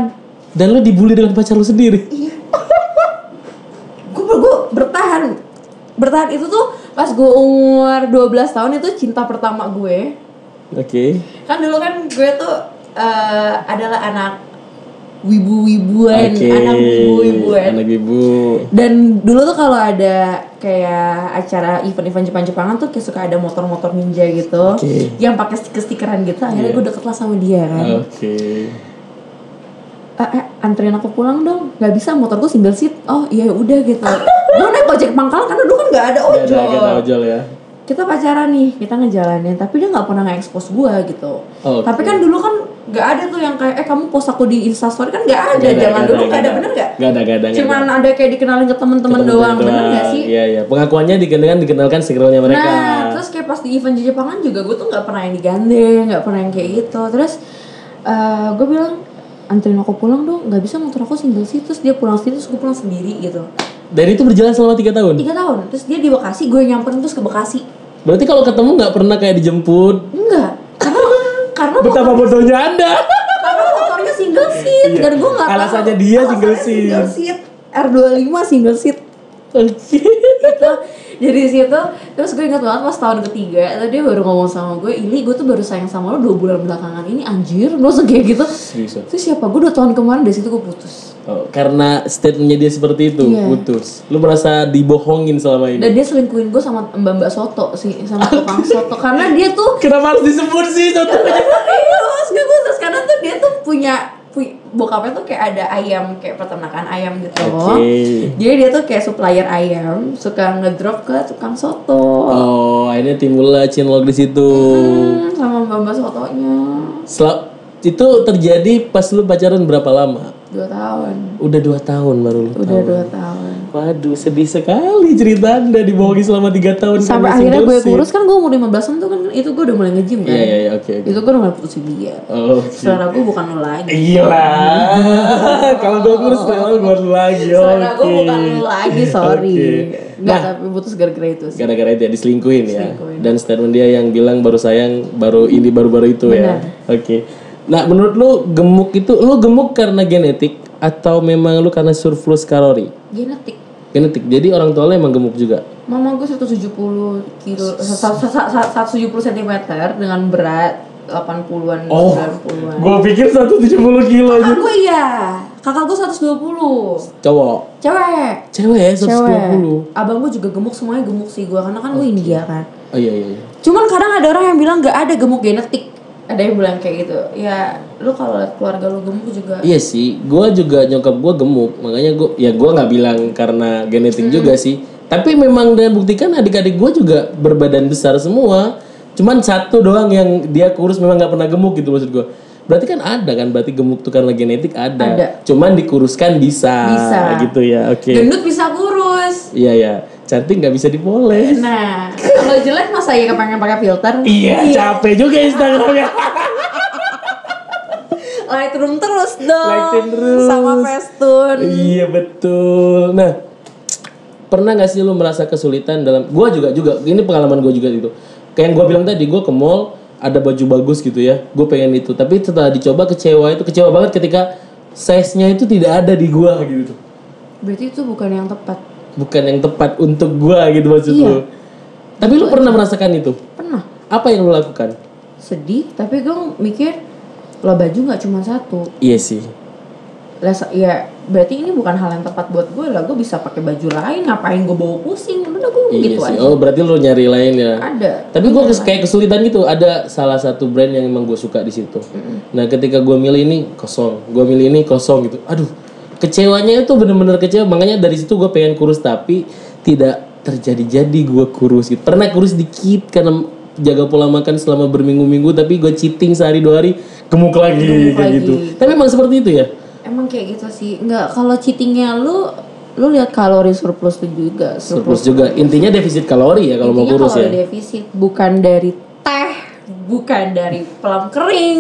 Speaker 1: dan lu dibully dengan pacar lu sendiri.
Speaker 2: Iya. gue gue bertahan bertahan itu tuh pas gue umur 12 tahun itu cinta pertama gue
Speaker 1: Oke.
Speaker 2: kan dulu kan gue tuh eh, adalah anak wibu-wibuan, anak eh. wibu-wibuan.
Speaker 1: Anak ibu.
Speaker 2: Dan dulu tuh kalau ada kayak acara event-event Jepang-Jepangan tuh kayak suka ada motor-motor ninja gitu,
Speaker 1: Oke. Iya. Oh,
Speaker 2: yang pakai stiker-stikeran gitu. Akhirnya gue deket lah sama dia kan.
Speaker 1: Oke.
Speaker 2: Eh, eh, anterin aku pulang dong. Gak bisa motor gue single seat. Oh iya udah gitu. gue naik ojek pangkalan karena dulu kan gak
Speaker 1: Gak ada
Speaker 2: ada ojol.
Speaker 1: gak ada ojol ya.
Speaker 2: kita pacaran nih kita ngejalanin tapi dia nggak pernah nge-expose gue gitu
Speaker 1: Oke.
Speaker 2: tapi kan dulu kan nggak ada tuh yang kayak eh kamu post aku di instastory kan nggak ada
Speaker 1: Gak
Speaker 2: zaman
Speaker 1: gak
Speaker 2: dulu
Speaker 1: gak
Speaker 2: nggak ada bener nggak
Speaker 1: Gak ada gak ada. gak
Speaker 2: cuman
Speaker 1: ada.
Speaker 2: ada kayak dikenalin ke temen-temen
Speaker 1: Temen-temen
Speaker 2: doang bener
Speaker 1: doang.
Speaker 2: nggak sih
Speaker 1: Iya iya. Pengakuannya dikenalkan dikenalkan sikrelnya mereka.
Speaker 2: Nah, terus kayak pas di event di Jepangan juga gue tuh nggak pernah yang digandeng, nggak pernah yang kayak gitu. Terus eh gue bilang anterin aku pulang dong, nggak bisa motor aku single sih. Terus dia pulang sendiri, terus gue pulang sendiri gitu.
Speaker 1: Dan itu berjalan selama tiga tahun.
Speaker 2: Tiga tahun, terus dia di Bekasi, gue nyamperin terus ke Bekasi.
Speaker 1: Berarti kalau ketemu nggak pernah kayak dijemput.
Speaker 2: Enggak, karena karena
Speaker 1: Betapa bodohnya anda.
Speaker 2: karena motornya single seat
Speaker 1: Iya.
Speaker 2: dan gue nggak tahu.
Speaker 1: Alasannya dia single
Speaker 2: Alasannya single seat R25 single seat
Speaker 1: Oke.
Speaker 2: itu Gitu. jadi situ terus gue ingat banget pas tahun ketiga itu dia baru ngomong sama gue ini gue tuh baru sayang sama lo dua bulan belakangan ini anjir lo kayak gitu
Speaker 1: Seriusan.
Speaker 2: terus siapa gue dua tahun kemarin dari situ gue putus
Speaker 1: Oh, karena statementnya dia seperti itu,
Speaker 2: Iya.
Speaker 1: putus. Lu merasa dibohongin selama ini.
Speaker 2: dan dia selingkuhin gue sama mbak mbak soto sih sama tukang soto karena dia tuh
Speaker 1: Kenapa harus disebut sih? Satu?
Speaker 2: serius gue gue terus karena tuh dia tuh punya pu- bokapnya tuh kayak ada ayam kayak peternakan ayam gitu
Speaker 1: Oke.
Speaker 2: jadi dia tuh kayak supplier ayam suka ngedrop ke tukang soto
Speaker 1: Oh, akhirnya timbullah cinlok di situ.
Speaker 2: Hmm, sama mbak mbak sotonya
Speaker 1: Sel- itu terjadi pas lu pacaran berapa lama?
Speaker 2: dua tahun
Speaker 1: Udah dua tahun baru lu.
Speaker 2: udah dua tahun
Speaker 1: Waduh, sedih sekali cerita anda dibohongi selama tiga tahun. karena
Speaker 2: sampai akhirnya gue
Speaker 1: single seat.
Speaker 2: kurus kan gue umur 15 tahun tuh kan itu gue udah mulai nge-gym kan
Speaker 1: Iya iya iya, oke oke.
Speaker 2: itu gue udah mulai putusin dia
Speaker 1: Oh,
Speaker 2: selera gue bukan lo lagi
Speaker 1: gila. Kalau gue kurus terlalu gue lagi. ya.
Speaker 2: selera gue
Speaker 1: oke.
Speaker 2: bukan lo lagi sorry
Speaker 1: Oke. Nah.
Speaker 2: nggak tapi putus gara-gara itu sih
Speaker 1: Gara-gara itu ya diselingkuhin ya.
Speaker 2: Diselingkuhin.
Speaker 1: Dan statement dia yang bilang baru sayang, baru ini baru-baru itu ya. Oke. Nah, menurut lu gemuk itu lu gemuk karena genetik atau memang lu karena surplus kalori?
Speaker 2: genetik
Speaker 1: genetik jadi orang tua lo emang gemuk juga
Speaker 2: Mama gue 170 kilo, 170 cm dengan berat 80-an,
Speaker 1: Oh.
Speaker 2: 90-an.
Speaker 1: gue pikir 170 kilo
Speaker 2: Kakak gue iya, kakak gue 120
Speaker 1: cowok
Speaker 2: Cewek
Speaker 1: cewek ya 120
Speaker 2: Abang gue juga gemuk, semuanya gemuk sih gue Karena kan gue India kan
Speaker 1: oh iya iya iya.
Speaker 2: Cuman kadang ada orang yang bilang gak ada gemuk genetik Ada yang bilang kayak gitu Ya lu kalau liat keluarga lu gemuk juga
Speaker 1: Iya sih, gue juga nyokap gue gemuk, makanya gue ya gue nggak bilang karena genetik
Speaker 2: Hmm.
Speaker 1: juga sih. Tapi memang dan buktikan adik-adik gue juga berbadan besar semua. Cuman satu doang yang dia kurus memang nggak pernah gemuk gitu maksud gue. Berarti kan ada kan, berarti gemuk tuh karena genetik ada.
Speaker 2: Ada.
Speaker 1: Cuman dikuruskan bisa,
Speaker 2: Bisa.
Speaker 1: gitu ya. Oke.
Speaker 2: Gendut bisa kurus
Speaker 1: Iya ya, cantik nggak bisa dipoles.
Speaker 2: Nah, kalau jelek masa iya kepengen pakai filter?
Speaker 1: Iya, capek juga Instagramnya.
Speaker 2: Lightroom terus dong.
Speaker 1: Lightroom terus.
Speaker 2: Sama Festoon.
Speaker 1: Iya betul. Nah, pernah nggak sih lu merasa kesulitan dalam? Gua juga juga. Ini pengalaman gue juga gitu. Kayak yang gue bilang tadi, gue ke mall ada baju bagus gitu ya. Gue pengen itu. Tapi setelah dicoba kecewa itu kecewa banget ketika size-nya itu tidak ada di gua gitu.
Speaker 2: Berarti itu bukan yang tepat.
Speaker 1: Bukan yang tepat untuk gua gitu maksud
Speaker 2: Iya.
Speaker 1: lu. Tapi lu pernah merasakan itu?
Speaker 2: Pernah
Speaker 1: Apa yang lu lakukan?
Speaker 2: sedih, tapi gue mikir lah baju nggak cuma satu.
Speaker 1: Iya sih.
Speaker 2: Lah se- ya berarti ini bukan hal yang tepat buat gue lah. Gue bisa pakai baju lain. Ngapain gue bawa pusing? Udah
Speaker 1: Iya
Speaker 2: gue gitu
Speaker 1: sih.
Speaker 2: aja.
Speaker 1: Oh, berarti lu nyari lain ya.
Speaker 2: Ada.
Speaker 1: Tapi gue kayak kesulitan gitu. Ada salah satu brand yang emang gue suka di situ. Nah, ketika gue milih ini kosong, gue milih ini kosong gitu. Aduh, kecewanya itu bener-bener kecewa. Makanya dari situ gue pengen kurus tapi tidak terjadi-jadi gue kurus gitu. Pernah kurus dikit karena jaga pola makan selama berminggu-minggu tapi gue cheating sehari dua hari gemuk lagi kayak
Speaker 2: lagi.
Speaker 1: gitu. Tapi emang seperti itu ya.
Speaker 2: Emang kayak gitu sih. Nggak kalau cheatingnya lu lu lihat kalori surplus tuh juga.
Speaker 1: Surplus juga. Intinya defisit kalori ya kalau mau
Speaker 2: Intinya
Speaker 1: kurus
Speaker 2: kalau
Speaker 1: ya.
Speaker 2: defisit bukan dari teh, bukan dari pelam kering,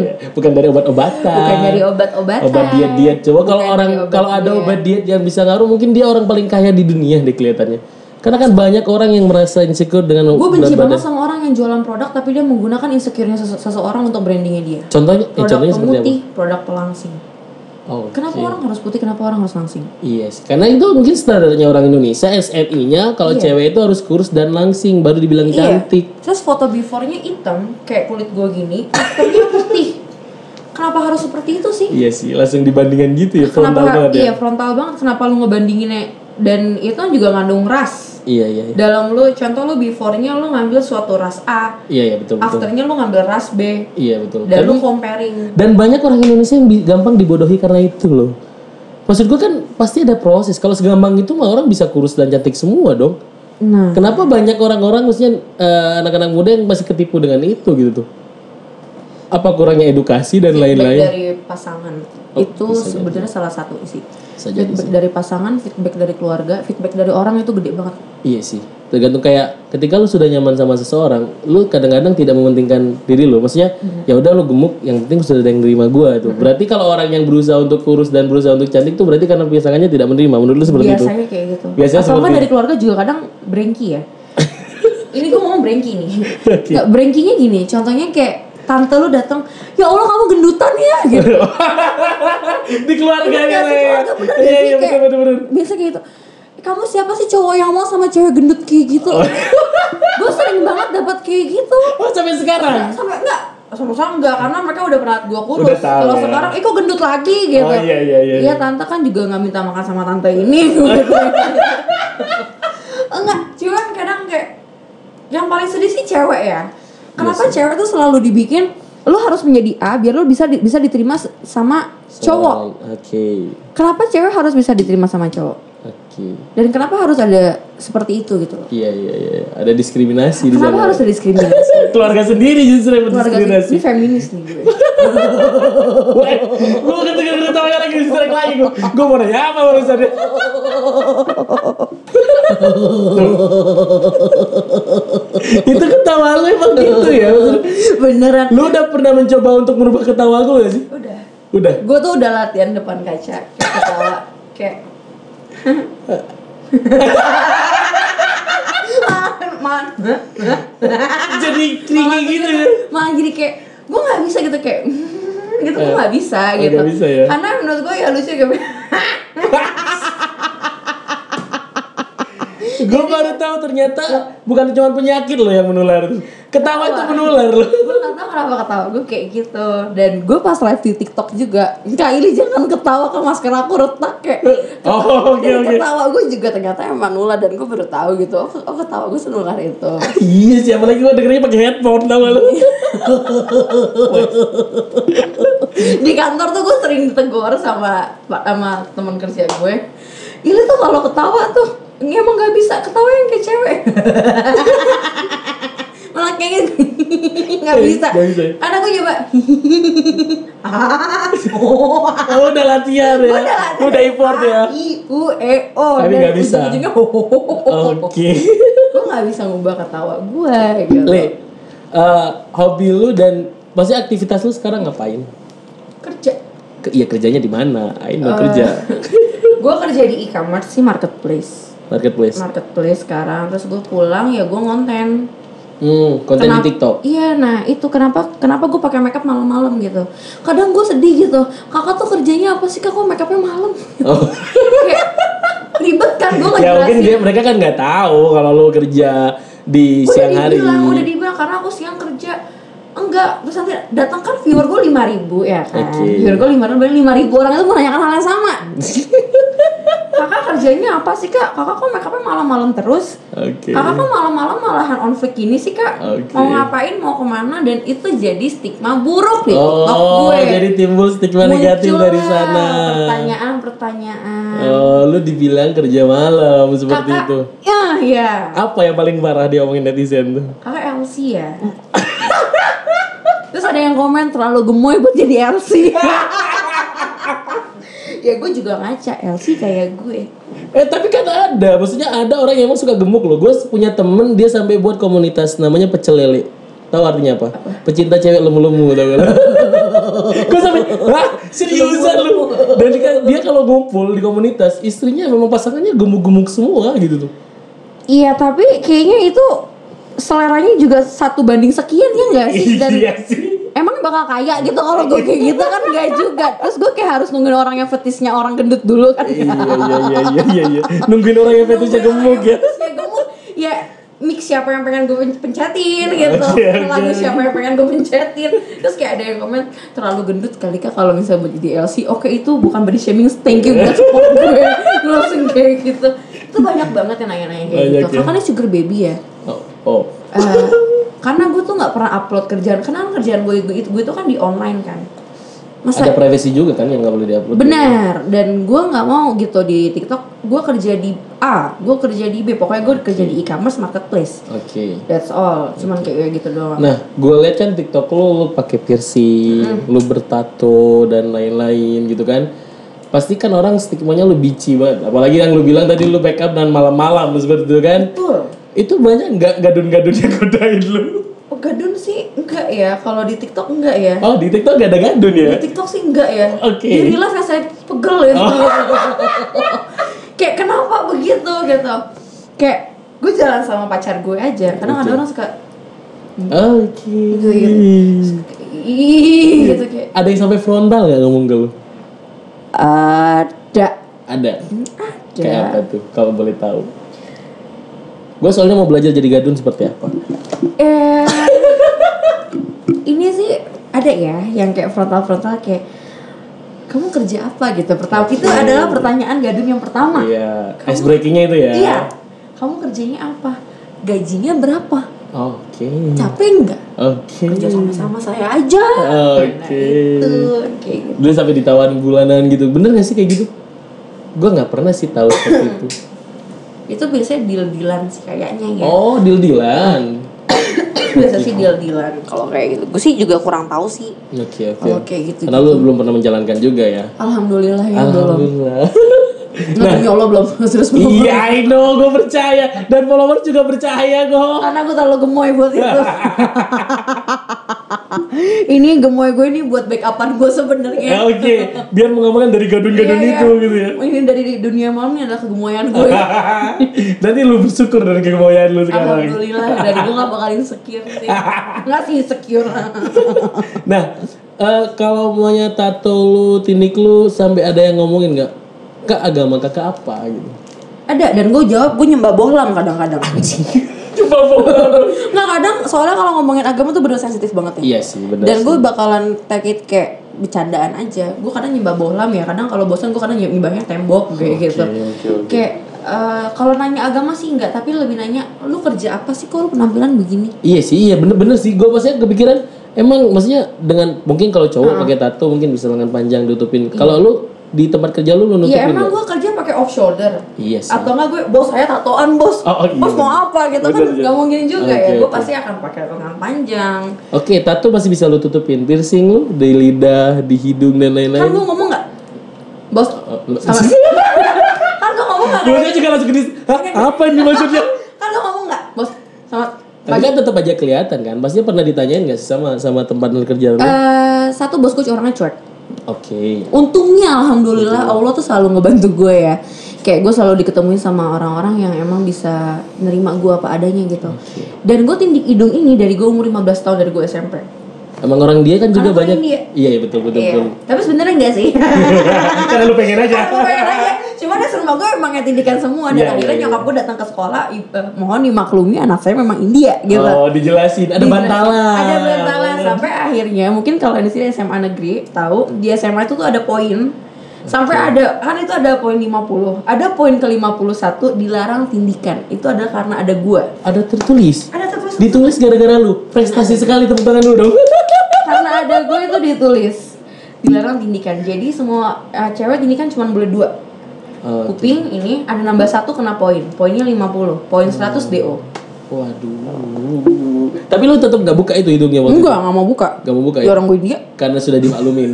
Speaker 1: Iya, bukan dari obat-obatan.
Speaker 2: bukan dari obat-obatan.
Speaker 1: obat diet diet coba kalau
Speaker 2: Bukan
Speaker 1: orang
Speaker 2: dari obat
Speaker 1: kalau ada
Speaker 2: diet.
Speaker 1: obat diet yang bisa ngaruh mungkin dia orang paling kaya di dunia deh kelihatannya karena kan banyak orang yang merasa insecure dengan
Speaker 2: Gue
Speaker 1: berat
Speaker 2: benci
Speaker 1: badan
Speaker 2: banget sama orang yang jualan produk tapi dia menggunakan insecure-nya sese- seseorang untuk brandingnya dia.
Speaker 1: contohnya eh,
Speaker 2: Produk
Speaker 1: contohnya seperti apa
Speaker 2: pemutih, produk pelangsing.
Speaker 1: oh
Speaker 2: Kenapa orang harus putih, kenapa orang harus langsing?
Speaker 1: yes karena itu mungkin standarnya orang Indonesia SMI nya kalau cewek itu harus kurus dan langsing baru dibilang cantik
Speaker 2: Iya. Terus foto before-nya hitam, kayak kulit gue gini, after-nya putih. Kenapa harus seperti itu sih?
Speaker 1: iya sih langsung dibandingkan gitu ya frontal
Speaker 2: kenapa
Speaker 1: banget ya
Speaker 2: iya frontal banget kenapa lu ngebandinginnya dan itu kan juga ngandung ras
Speaker 1: iya iya iya
Speaker 2: dalam lu contoh lu before-nya lu ngambil suatu ras A
Speaker 1: iya iya, betul betul
Speaker 2: afternya lu ngambil ras B
Speaker 1: iya betul Tapi-
Speaker 2: dan lu comparing
Speaker 1: Dan banyak orang Indonesia yang bi- gampang dibodohi karena itu loh. Maksud gue kan pasti ada proses. Kalau segampang itu mah orang bisa kurus dan cantik semua dong.
Speaker 2: nah
Speaker 1: Kenapa banyak orang-orang maksudnya eh, anak-anak muda yang masih ketipu dengan itu gitu tuh? Apa kurangnya edukasi dan
Speaker 2: feedback
Speaker 1: lain-lain?
Speaker 2: dari pasangan
Speaker 1: Oh,
Speaker 2: itu
Speaker 1: bisa jadi.
Speaker 2: sebenarnya salah satu isi
Speaker 1: Bisa jadi
Speaker 2: feedback dari pasangan feedback dari keluarga feedback dari orang itu gede banget
Speaker 1: Iya sih. Tergantung kayak ketika lu sudah nyaman sama seseorang, lu kadang-kadang tidak mementingkan diri lu. Maksudnya
Speaker 2: Mhm.
Speaker 1: ya udah lu gemuk, yang penting sudah ada yang nerima gua itu. Berarti kalau orang yang berusaha untuk kurus dan berusaha untuk cantik tuh berarti karena pasangannya tidak menerima. Menurut lu seperti itu?
Speaker 2: biasanya kayak gitu
Speaker 1: Biasanya
Speaker 2: Atau
Speaker 1: seperti
Speaker 2: nggak dari keluarga juga kadang brengki ya ini gue ngomong brengki nih nggak brengkinya gini contohnya kayak tante lu datang ya allah kamu gendutan ya gitu
Speaker 1: di keluarga
Speaker 2: Iya,
Speaker 1: gitu
Speaker 2: sih,
Speaker 1: ya.
Speaker 2: keluarga bener
Speaker 1: Iya
Speaker 2: gak sih?
Speaker 1: iya betul
Speaker 2: Kayak-
Speaker 1: betul betul.
Speaker 2: biasa kayak gitu kamu siapa sih cowok yang mau sama cewek gendut kayak gitu gue sering banget dapat kayak gitu
Speaker 1: Oh sampai sekarang.
Speaker 2: sampai enggak sama sama enggak karena mereka udah pernah gue kurus
Speaker 1: Udah tahu
Speaker 2: kalau
Speaker 1: ya.
Speaker 2: sekarang eh kok gendut lagi gitu
Speaker 1: Oh, iya, iya, iya.
Speaker 2: tante kan juga nggak minta makan sama tante ini enggak cuman kadang kayak yang paling sedih sih cewek ya
Speaker 1: Iya
Speaker 2: kenapa cewek tuh selalu dibikin lu harus menjadi A biar lu bisa di- bisa diterima s- sama cowok
Speaker 1: Oke.
Speaker 2: kenapa cewek harus bisa diterima sama cowok
Speaker 1: Oke.
Speaker 2: dan kenapa harus ada seperti itu gitu loh
Speaker 1: Iya iya iya. Ada diskriminasi di
Speaker 2: kenapa
Speaker 1: sana.
Speaker 2: harus ada diskriminasi
Speaker 1: Keluarga sendiri justru yang
Speaker 2: keluarga
Speaker 1: berdiskriminasi.
Speaker 2: ini feminis nih gue
Speaker 1: Gue ketika ketawanya lagi distrek lagi gue. Gue mau nanya apa barusan Itu ketawa lu emang gitu ya.
Speaker 2: beneran
Speaker 1: Lu udah pernah mencoba untuk merubah ketawa gue gak sih?
Speaker 2: udah
Speaker 1: Udah.
Speaker 2: gue tuh udah latihan depan kaca kayak ketawa kayak malah malah-
Speaker 1: Jadi kringi gitu ya.
Speaker 2: malah jadi kayak gue nggak bisa gitu kayak gitu gue nggak bisa
Speaker 1: oh,
Speaker 2: gitu
Speaker 1: nggak bisa ya.
Speaker 2: karena menurut gue ya lucu kayak
Speaker 3: Gue baru tahu ternyata bukan cuma penyakit loh yang menular. Ketawa itu menular loh.
Speaker 2: gue gak tau kenapa ketawa gue kayak gitu dan gue pas live di TikTok juga kak ini jangan ketawa ke masker aku retak kayak
Speaker 3: Oh, oke,
Speaker 2: Dan
Speaker 3: oke.
Speaker 2: ketawa gue juga ternyata emang nular dan gue baru tahu gitu oh, oh ketawa gue senular itu
Speaker 3: Iya siapa lagi gue dengernya pakai headphone tau gak lu?
Speaker 2: di kantor tuh gue sering ditegur sama sama teman kerja gue ini tuh kalau ketawa tuh ini emang gak bisa ketawa yang kayak cewek malah kayak gini nggak bisa
Speaker 3: Eh, Nggak bisa.
Speaker 2: karena gue coba ah oh
Speaker 3: Oh, udah latihan ya.
Speaker 2: Udah lah.
Speaker 3: Udah effort ya.
Speaker 2: A, I U E O.
Speaker 3: Tapi
Speaker 2: Dan
Speaker 3: nggak bisa.
Speaker 2: ujung-ujungnya,
Speaker 3: Oke.
Speaker 2: Gue nggak bisa ngubah ketawa gue. Gitu.
Speaker 3: Le, eh, hobi lu dan maksudnya aktivitas lu sekarang ngapain?
Speaker 2: Kerja.
Speaker 3: Ke, iya kerjanya di mana? Ain mau kerja
Speaker 2: gue kerja di e-commerce sih marketplace.
Speaker 3: marketplace.
Speaker 2: Marketplace sekarang. Terus gue pulang ya gue ngonten.
Speaker 3: Hmm, konten di TikTok.
Speaker 2: Iya, nah itu kenapa kenapa gue pakai makeup malam-malam gitu. Kadang gue sedih gitu. Kakak tuh kerjanya apa sih kak? Kok makeupnya malam?
Speaker 3: Oh.
Speaker 2: Kayak ribet kan gue nggak
Speaker 3: ya mungkin dia mereka kan nggak tahu kalau lu
Speaker 1: Ya,
Speaker 3: kerja di siang
Speaker 2: udah
Speaker 3: hari.
Speaker 2: dibilang, udah dibilang karena aku siang kerja enggak terus nanti datang kan viewer gue lima ribu ya kan
Speaker 3: Oke.
Speaker 2: viewer gue lima ribu lima ribu orang itu menanyakan hal yang sama kakak kerjanya apa sih kak kakak kok makeupnya malam-malam terus
Speaker 3: Oke.
Speaker 2: kakak kok malam-malam malahan on fleek gini sih kak
Speaker 3: Oke.
Speaker 2: mau ngapain mau kemana dan itu jadi stigma buruk di TikTok
Speaker 3: Oh,
Speaker 2: gue
Speaker 3: jadi timbul stigma negatif
Speaker 2: Muncullah
Speaker 3: dari sana.
Speaker 2: pertanyaan-pertanyaan
Speaker 3: Oh, lu dibilang kerja malam seperti
Speaker 2: kakak
Speaker 3: itu.
Speaker 2: ya ya
Speaker 3: Apa yang paling parah diomongin netizen tuh?
Speaker 2: Kakak LC ya? Terus ada yang komen terlalu gemoy buat jadi LC Ya gue juga ngaca LC kayak gue
Speaker 3: Eh tapi kan ada, maksudnya ada orang yang emang suka gemuk loh. Gue punya temen dia sampai buat komunitas namanya pecel lele. Tahu artinya apa? Pecinta cewek lemu-lemu tau gak? Gue sampai, hah seriusan lu? Dan dia, dia kalau ngumpul di komunitas, istrinya memang pasangannya gemuk-gemuk semua gitu tuh.
Speaker 2: Iya tapi kayaknya itu seleranya juga satu banding sekian ya gak sih? Dan
Speaker 3: Iya sih.
Speaker 2: emang bakal kaya gitu kalau gue kayak gitu kan gak juga Terus gue kayak harus nungguin orang yang fetisnya orang gendut dulu kan
Speaker 3: Iya iya iya iya iya. iya. Nungguin orang yang fetusnya gemuk ya.
Speaker 2: Fetisnya gemuk ya mix siapa yang pengen gue pencetin gitu
Speaker 3: Oke, oke.
Speaker 2: lagu siapa yang pengen gue pencetin terus kayak ada yang komen terlalu gendut kali kak kalau misalnya buat jadi LC oke itu bukan body shaming thank you buat support gue Gue langsung kayak gitu itu banyak banget yang nanya-nanya kayak
Speaker 3: Banyak
Speaker 2: gitu
Speaker 3: ya.
Speaker 2: kakaknya sugar baby ya
Speaker 3: Oh, oh.
Speaker 2: Eh, karena gue tuh nggak pernah upload kerjaan karena kan kerjaan gue gue itu gue itu kan di online kan masa
Speaker 3: ada privacy juga kan yang nggak boleh diupload.
Speaker 2: Benar, dan gue nggak mau gitu di TikTok. Gue kerja di A, gue kerja di B. Pokoknya gue kerja di e-commerce marketplace.
Speaker 3: Oke.
Speaker 2: That's all. Cuman kayak gitu doang.
Speaker 3: Nah, gue liat kan TikTok lu, lu pakai piercing, lu bertato dan lain-lain gitu kan. Pasti kan orang stigmanya lu bici banget. Apalagi yang lu bilang tadi lu backup dan malam-malam seperti itu kan.
Speaker 2: Betul.
Speaker 3: Itu banyak nggak gadun-gadun yang godain lu.
Speaker 2: Oh, gadun sih enggak ya. Kalau di TikTok enggak ya.
Speaker 3: Oh, di TikTok gak ada gadun ya?
Speaker 2: Di TikTok sih enggak ya.
Speaker 3: Oke. Oh.
Speaker 2: Di real life saya pegel ya. kayak kenapa begitu gitu. Kayak gue jalan sama pacar gue aja. Kadang ada orang suka
Speaker 3: Oke.
Speaker 2: Gitu,
Speaker 3: Hmm.
Speaker 2: ih gitu kayak
Speaker 3: Ada yang sampai frontal nggak ngomong ke lu?
Speaker 2: ada
Speaker 3: Ada.
Speaker 2: Iya.
Speaker 3: Kayak apa tuh? Kalau boleh tahu. Gue soalnya mau belajar jadi gadun seperti apa.
Speaker 2: Ah. Eh, ini sih ada ya yang kayak frontal-frontal kayak kamu kerja apa gitu. Pertama itu adalah pertanyaan gadun yang pertama.
Speaker 3: Iya, ice breakingnya itu ya.
Speaker 2: Iya. Kamu kerjanya apa? Gajinya berapa?
Speaker 3: Oke.
Speaker 2: Capek nggak?
Speaker 3: Oke.
Speaker 2: Kerja sama-sama saya aja. Nah,
Speaker 3: Oke.
Speaker 2: itu kayak gitu.
Speaker 3: Dulu sampai ditawarin bulanan gitu. Bener gak sih kayak gitu? Gue nggak pernah sih tahu seperti itu.
Speaker 2: Itu biasanya deal-dealan sih kayaknya ya.
Speaker 3: Oh, deal-dealan.
Speaker 2: Biasa sih deal-dealan kalau kayak gitu. Gue sih juga kurang tahu sih.
Speaker 3: Oke, oke.
Speaker 2: Kalau kayak gitu.
Speaker 3: Karena lu belum pernah menjalankan juga ya.
Speaker 2: Alhamdulillah ya belum.
Speaker 3: Alhamdulillah.
Speaker 2: Nah, demi Allah belum serius belum.
Speaker 3: Iya, I know, gue percaya. Dan followers juga percaya kok.
Speaker 2: Karena aku terlalu gemoy buat itu. ini gemoy gue ini buat backupan gue sebenarnya.
Speaker 3: Ya, oke, biar mengamankan dari gadun-gadun
Speaker 2: Iya,
Speaker 3: itu
Speaker 2: iya.
Speaker 3: gitu ya.
Speaker 2: Ini dari dunia malam ini adalah kegemoyan gue.
Speaker 3: Nanti lu bersyukur dari kemoyaan lu sekarang.
Speaker 2: Alhamdulillah dan gue gak bakal insecure sih. Enggak sih insecure.
Speaker 3: Nah, eh, kalau maunya tato lu, tinik lu, sampai ada yang ngomongin nggak? Kak agama kakak apa gitu?
Speaker 2: Ada dan gue jawab gue nyembah bohlam kadang-kadang.
Speaker 1: Coba bohong.
Speaker 2: Nggak kadang soalnya kalau ngomongin agama tuh bener sensitif banget ya.
Speaker 1: Iya sih benar.
Speaker 2: Dan gue bakalan take it kayak bercandaan aja. Gue kadang nyembah bohlam ya. Kadang kalau bosan gue kadang nyembahnya tembok kayak gitu.
Speaker 1: oke, oke.
Speaker 2: Kayak eh, kalau nanya agama sih enggak, tapi lebih nanya lu kerja apa sih kalau penampilan begini?
Speaker 1: Iya sih, iya bener-bener sih. Gue maksudnya kepikiran, emang maksudnya dengan mungkin kalau cowok pakai tato mungkin bisa lengan panjang ditutupin. Kalau lu di tempat kerja lu lu nutupin
Speaker 2: Iya emang
Speaker 1: nggak?
Speaker 2: gue kerja pakai off shoulder.
Speaker 1: Iya sih.
Speaker 2: Atau enggak gue bos saya tatoan bos.
Speaker 1: Oh, oh, iya,
Speaker 2: bos mau
Speaker 1: bener.
Speaker 2: apa gitu
Speaker 1: Bener,
Speaker 2: kan
Speaker 1: bener.
Speaker 2: nggak mungkin juga
Speaker 1: Oke,
Speaker 2: ya. Gue
Speaker 1: oke.
Speaker 2: pasti akan pakai lengan panjang.
Speaker 1: Oke, tato masih bisa lu tutupin. Piercing lu di lidah, di hidung dan
Speaker 2: Kan
Speaker 1: lain-lain.
Speaker 2: gue ngomong nggak bos
Speaker 1: lu-
Speaker 2: sama. kan gue ngomong nggak.
Speaker 1: Gue juga langsung ke Hah, apa ini maksudnya?
Speaker 2: Kan gue ngomong nggak bos sama.
Speaker 1: Tapi kan tetap aja kelihatan kan. Pastinya pernah ditanyain gak sih sama sama tempat lu kerja lu?
Speaker 2: Eh, satu bosku orangnya cuek.
Speaker 1: Oke.
Speaker 2: untungnya alhamdulillah Allah tuh selalu ngebantu gue ya kayak gue selalu diketemuin sama orang-orang yang emang bisa nerima gue apa adanya gitu dan gue tindik hidung ini dari gue umur 15 tahun dari gue SMP
Speaker 1: Emang orang dia kan juga banyak.
Speaker 2: Karena orang India.
Speaker 1: Iya, iya betul betul betul.
Speaker 2: Iya. tapi sebenarnya enggak sih
Speaker 1: Karena lu pengen aja.
Speaker 2: Aku pengen aja cuman ya serba gue emang tindikan semua dan
Speaker 1: Iya,
Speaker 2: akhirnya
Speaker 1: iya, iya.
Speaker 2: nyokap gue datang ke sekolah i- eh, mohon dimaklumi anak saya memang India gitu
Speaker 1: Oh, dijelasin. Ada
Speaker 2: Di-
Speaker 1: bantalan.
Speaker 2: Iya.
Speaker 1: Ya,
Speaker 2: Ada bantalan sampai akhirnya mungkin kalau di sini SMA negeri tahu di SMA itu tuh ada poin. Sampai ada kan itu ada poin 50. Ada poin ke 51 dilarang tindikan. Itu adalah karena ada gua.
Speaker 1: Ada tertulis.
Speaker 2: Ada tertulis
Speaker 1: Ditulis gara-gara lu. Prestasi sekali tepuk tangan lu dong.
Speaker 2: karena ada gua itu ditulis dilarang tindikan. Jadi semua eh, cewek tindikan cuma boleh dua.
Speaker 1: Oh,
Speaker 2: Kuping ini ada nambah satu kena poin. Poinnya 50. Poin 100 DO.
Speaker 1: Hmm. Waduh. Tapi lu tetap gak buka itu hidungnya waktu
Speaker 2: Enggak, enggak mau buka.
Speaker 1: itu? Gak mau buka ya?
Speaker 2: Ya orang gue dia.
Speaker 1: Karena sudah dimaklumin.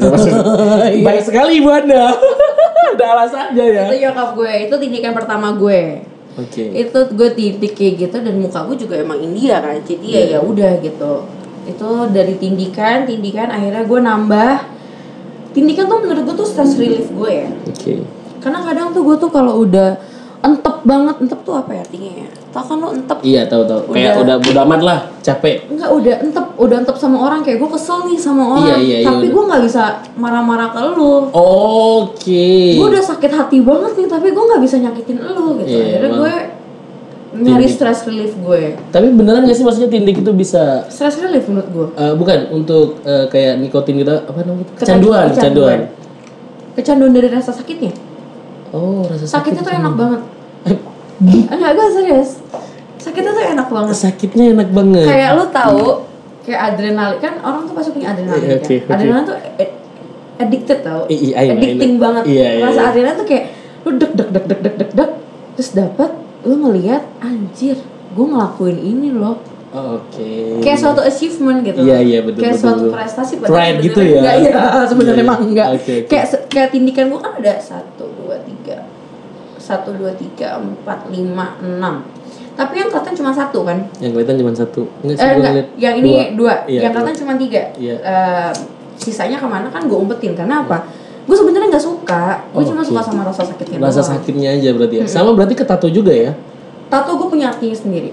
Speaker 1: Baik sekali ibu anda. Ada alasannya ya.
Speaker 2: Itu nyokap gue, itu tindikan pertama gue.
Speaker 1: Oke.
Speaker 2: itu gue titik kayak gitu dan muka gue juga emang India kan jadi
Speaker 1: Iya.
Speaker 2: ya ya udah gitu itu dari tindikan tindikan akhirnya gue nambah tindikan tuh menurut gue tuh stress relief gue ya
Speaker 1: Oke.
Speaker 2: karena kadang tuh gue tuh kalau udah entep banget entep tuh apa ya artinya ya tau kan lo entep
Speaker 1: Iya tahu tahu. Kayak udah udah amat lah, capek.
Speaker 2: Enggak udah entep udah entep sama orang kayak gue kesel nih sama
Speaker 1: Iya,
Speaker 2: orang
Speaker 1: iya, iya,
Speaker 2: tapi
Speaker 1: udah.
Speaker 2: gue nggak bisa marah-marah ke lu
Speaker 1: Oke.
Speaker 2: gue udah sakit hati banget nih tapi gue nggak bisa nyakitin lu gitu
Speaker 1: Iya,
Speaker 2: akhirnya
Speaker 1: emang.
Speaker 2: gue nyari stress relief gue
Speaker 1: Tapi beneran gak sih maksudnya tindik itu bisa
Speaker 2: stress relief menurut gue
Speaker 1: eh, bukan untuk eh, kayak nikotin gitu apa namanya? itu?
Speaker 2: Kecanduan,
Speaker 1: Kecanduan, kecanduan.
Speaker 2: kecanduan dari rasa sakitnya
Speaker 1: Oh, rasa sakit.
Speaker 2: sakitnya tuh enak banget enggak gue serius sakitnya tuh enak banget
Speaker 1: Sakitnya enak banget.
Speaker 2: kayak lu tahu kayak adrenalin kan orang tuh pasti punya adrenalin
Speaker 1: Iya, oke,
Speaker 2: kan
Speaker 1: oke.
Speaker 2: adrenalin tuh a- addicted tau
Speaker 1: I- i- I know, I
Speaker 2: addicting
Speaker 1: know.
Speaker 2: banget
Speaker 1: Iya, iya,
Speaker 2: rasa
Speaker 1: iya.
Speaker 2: adrenalin tuh kayak lu deg deg deg deg deg deg deg terus dapat lu ngelihat anjir gue ngelakuin ini loh
Speaker 1: Oh, Oke.
Speaker 2: kayak suatu achievement gitu.
Speaker 1: Iya, iya, betul,
Speaker 2: Kayak
Speaker 1: betul,
Speaker 2: suatu
Speaker 1: betul.
Speaker 2: prestasi
Speaker 1: Pride
Speaker 2: sebenarnya
Speaker 1: gitu ya?
Speaker 2: Enggak, iya, sebenarnya
Speaker 1: Iya, iya.
Speaker 2: emang enggak.
Speaker 1: Oke, oke.
Speaker 2: Kayak se- kayak tindikan gua kan ada 1 2 3 1 2 3 4 5 6. Tapi yang kelihatan cuma satu kan?
Speaker 1: Yang kelihatan cuma satu. Enggak sih
Speaker 2: eh
Speaker 1: gua
Speaker 2: enggak,
Speaker 1: ngeliat
Speaker 2: yang ini dua,
Speaker 1: Iya,
Speaker 2: yang
Speaker 1: dua.
Speaker 2: kelihatan cuma tiga.
Speaker 1: Iya.
Speaker 2: Eh, sisanya kemana kan gue umpetin karena apa? Gue sebenarnya nggak suka, gue
Speaker 1: Oh,
Speaker 2: cuma
Speaker 1: oke.
Speaker 2: suka sama rasa sakitnya.
Speaker 1: Rasa
Speaker 2: doang.
Speaker 1: sakitnya aja berarti ya. Sama berarti ke tato juga ya.
Speaker 2: Tato gue punya artinya sendiri.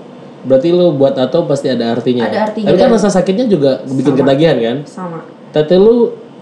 Speaker 1: Berarti lu buat tato pasti ada artinya.
Speaker 2: Ada artinya.
Speaker 1: Tapi kan rasa sakitnya juga bikin
Speaker 2: Sama.
Speaker 1: ketagihan kan?
Speaker 2: Sama.
Speaker 1: Tato lu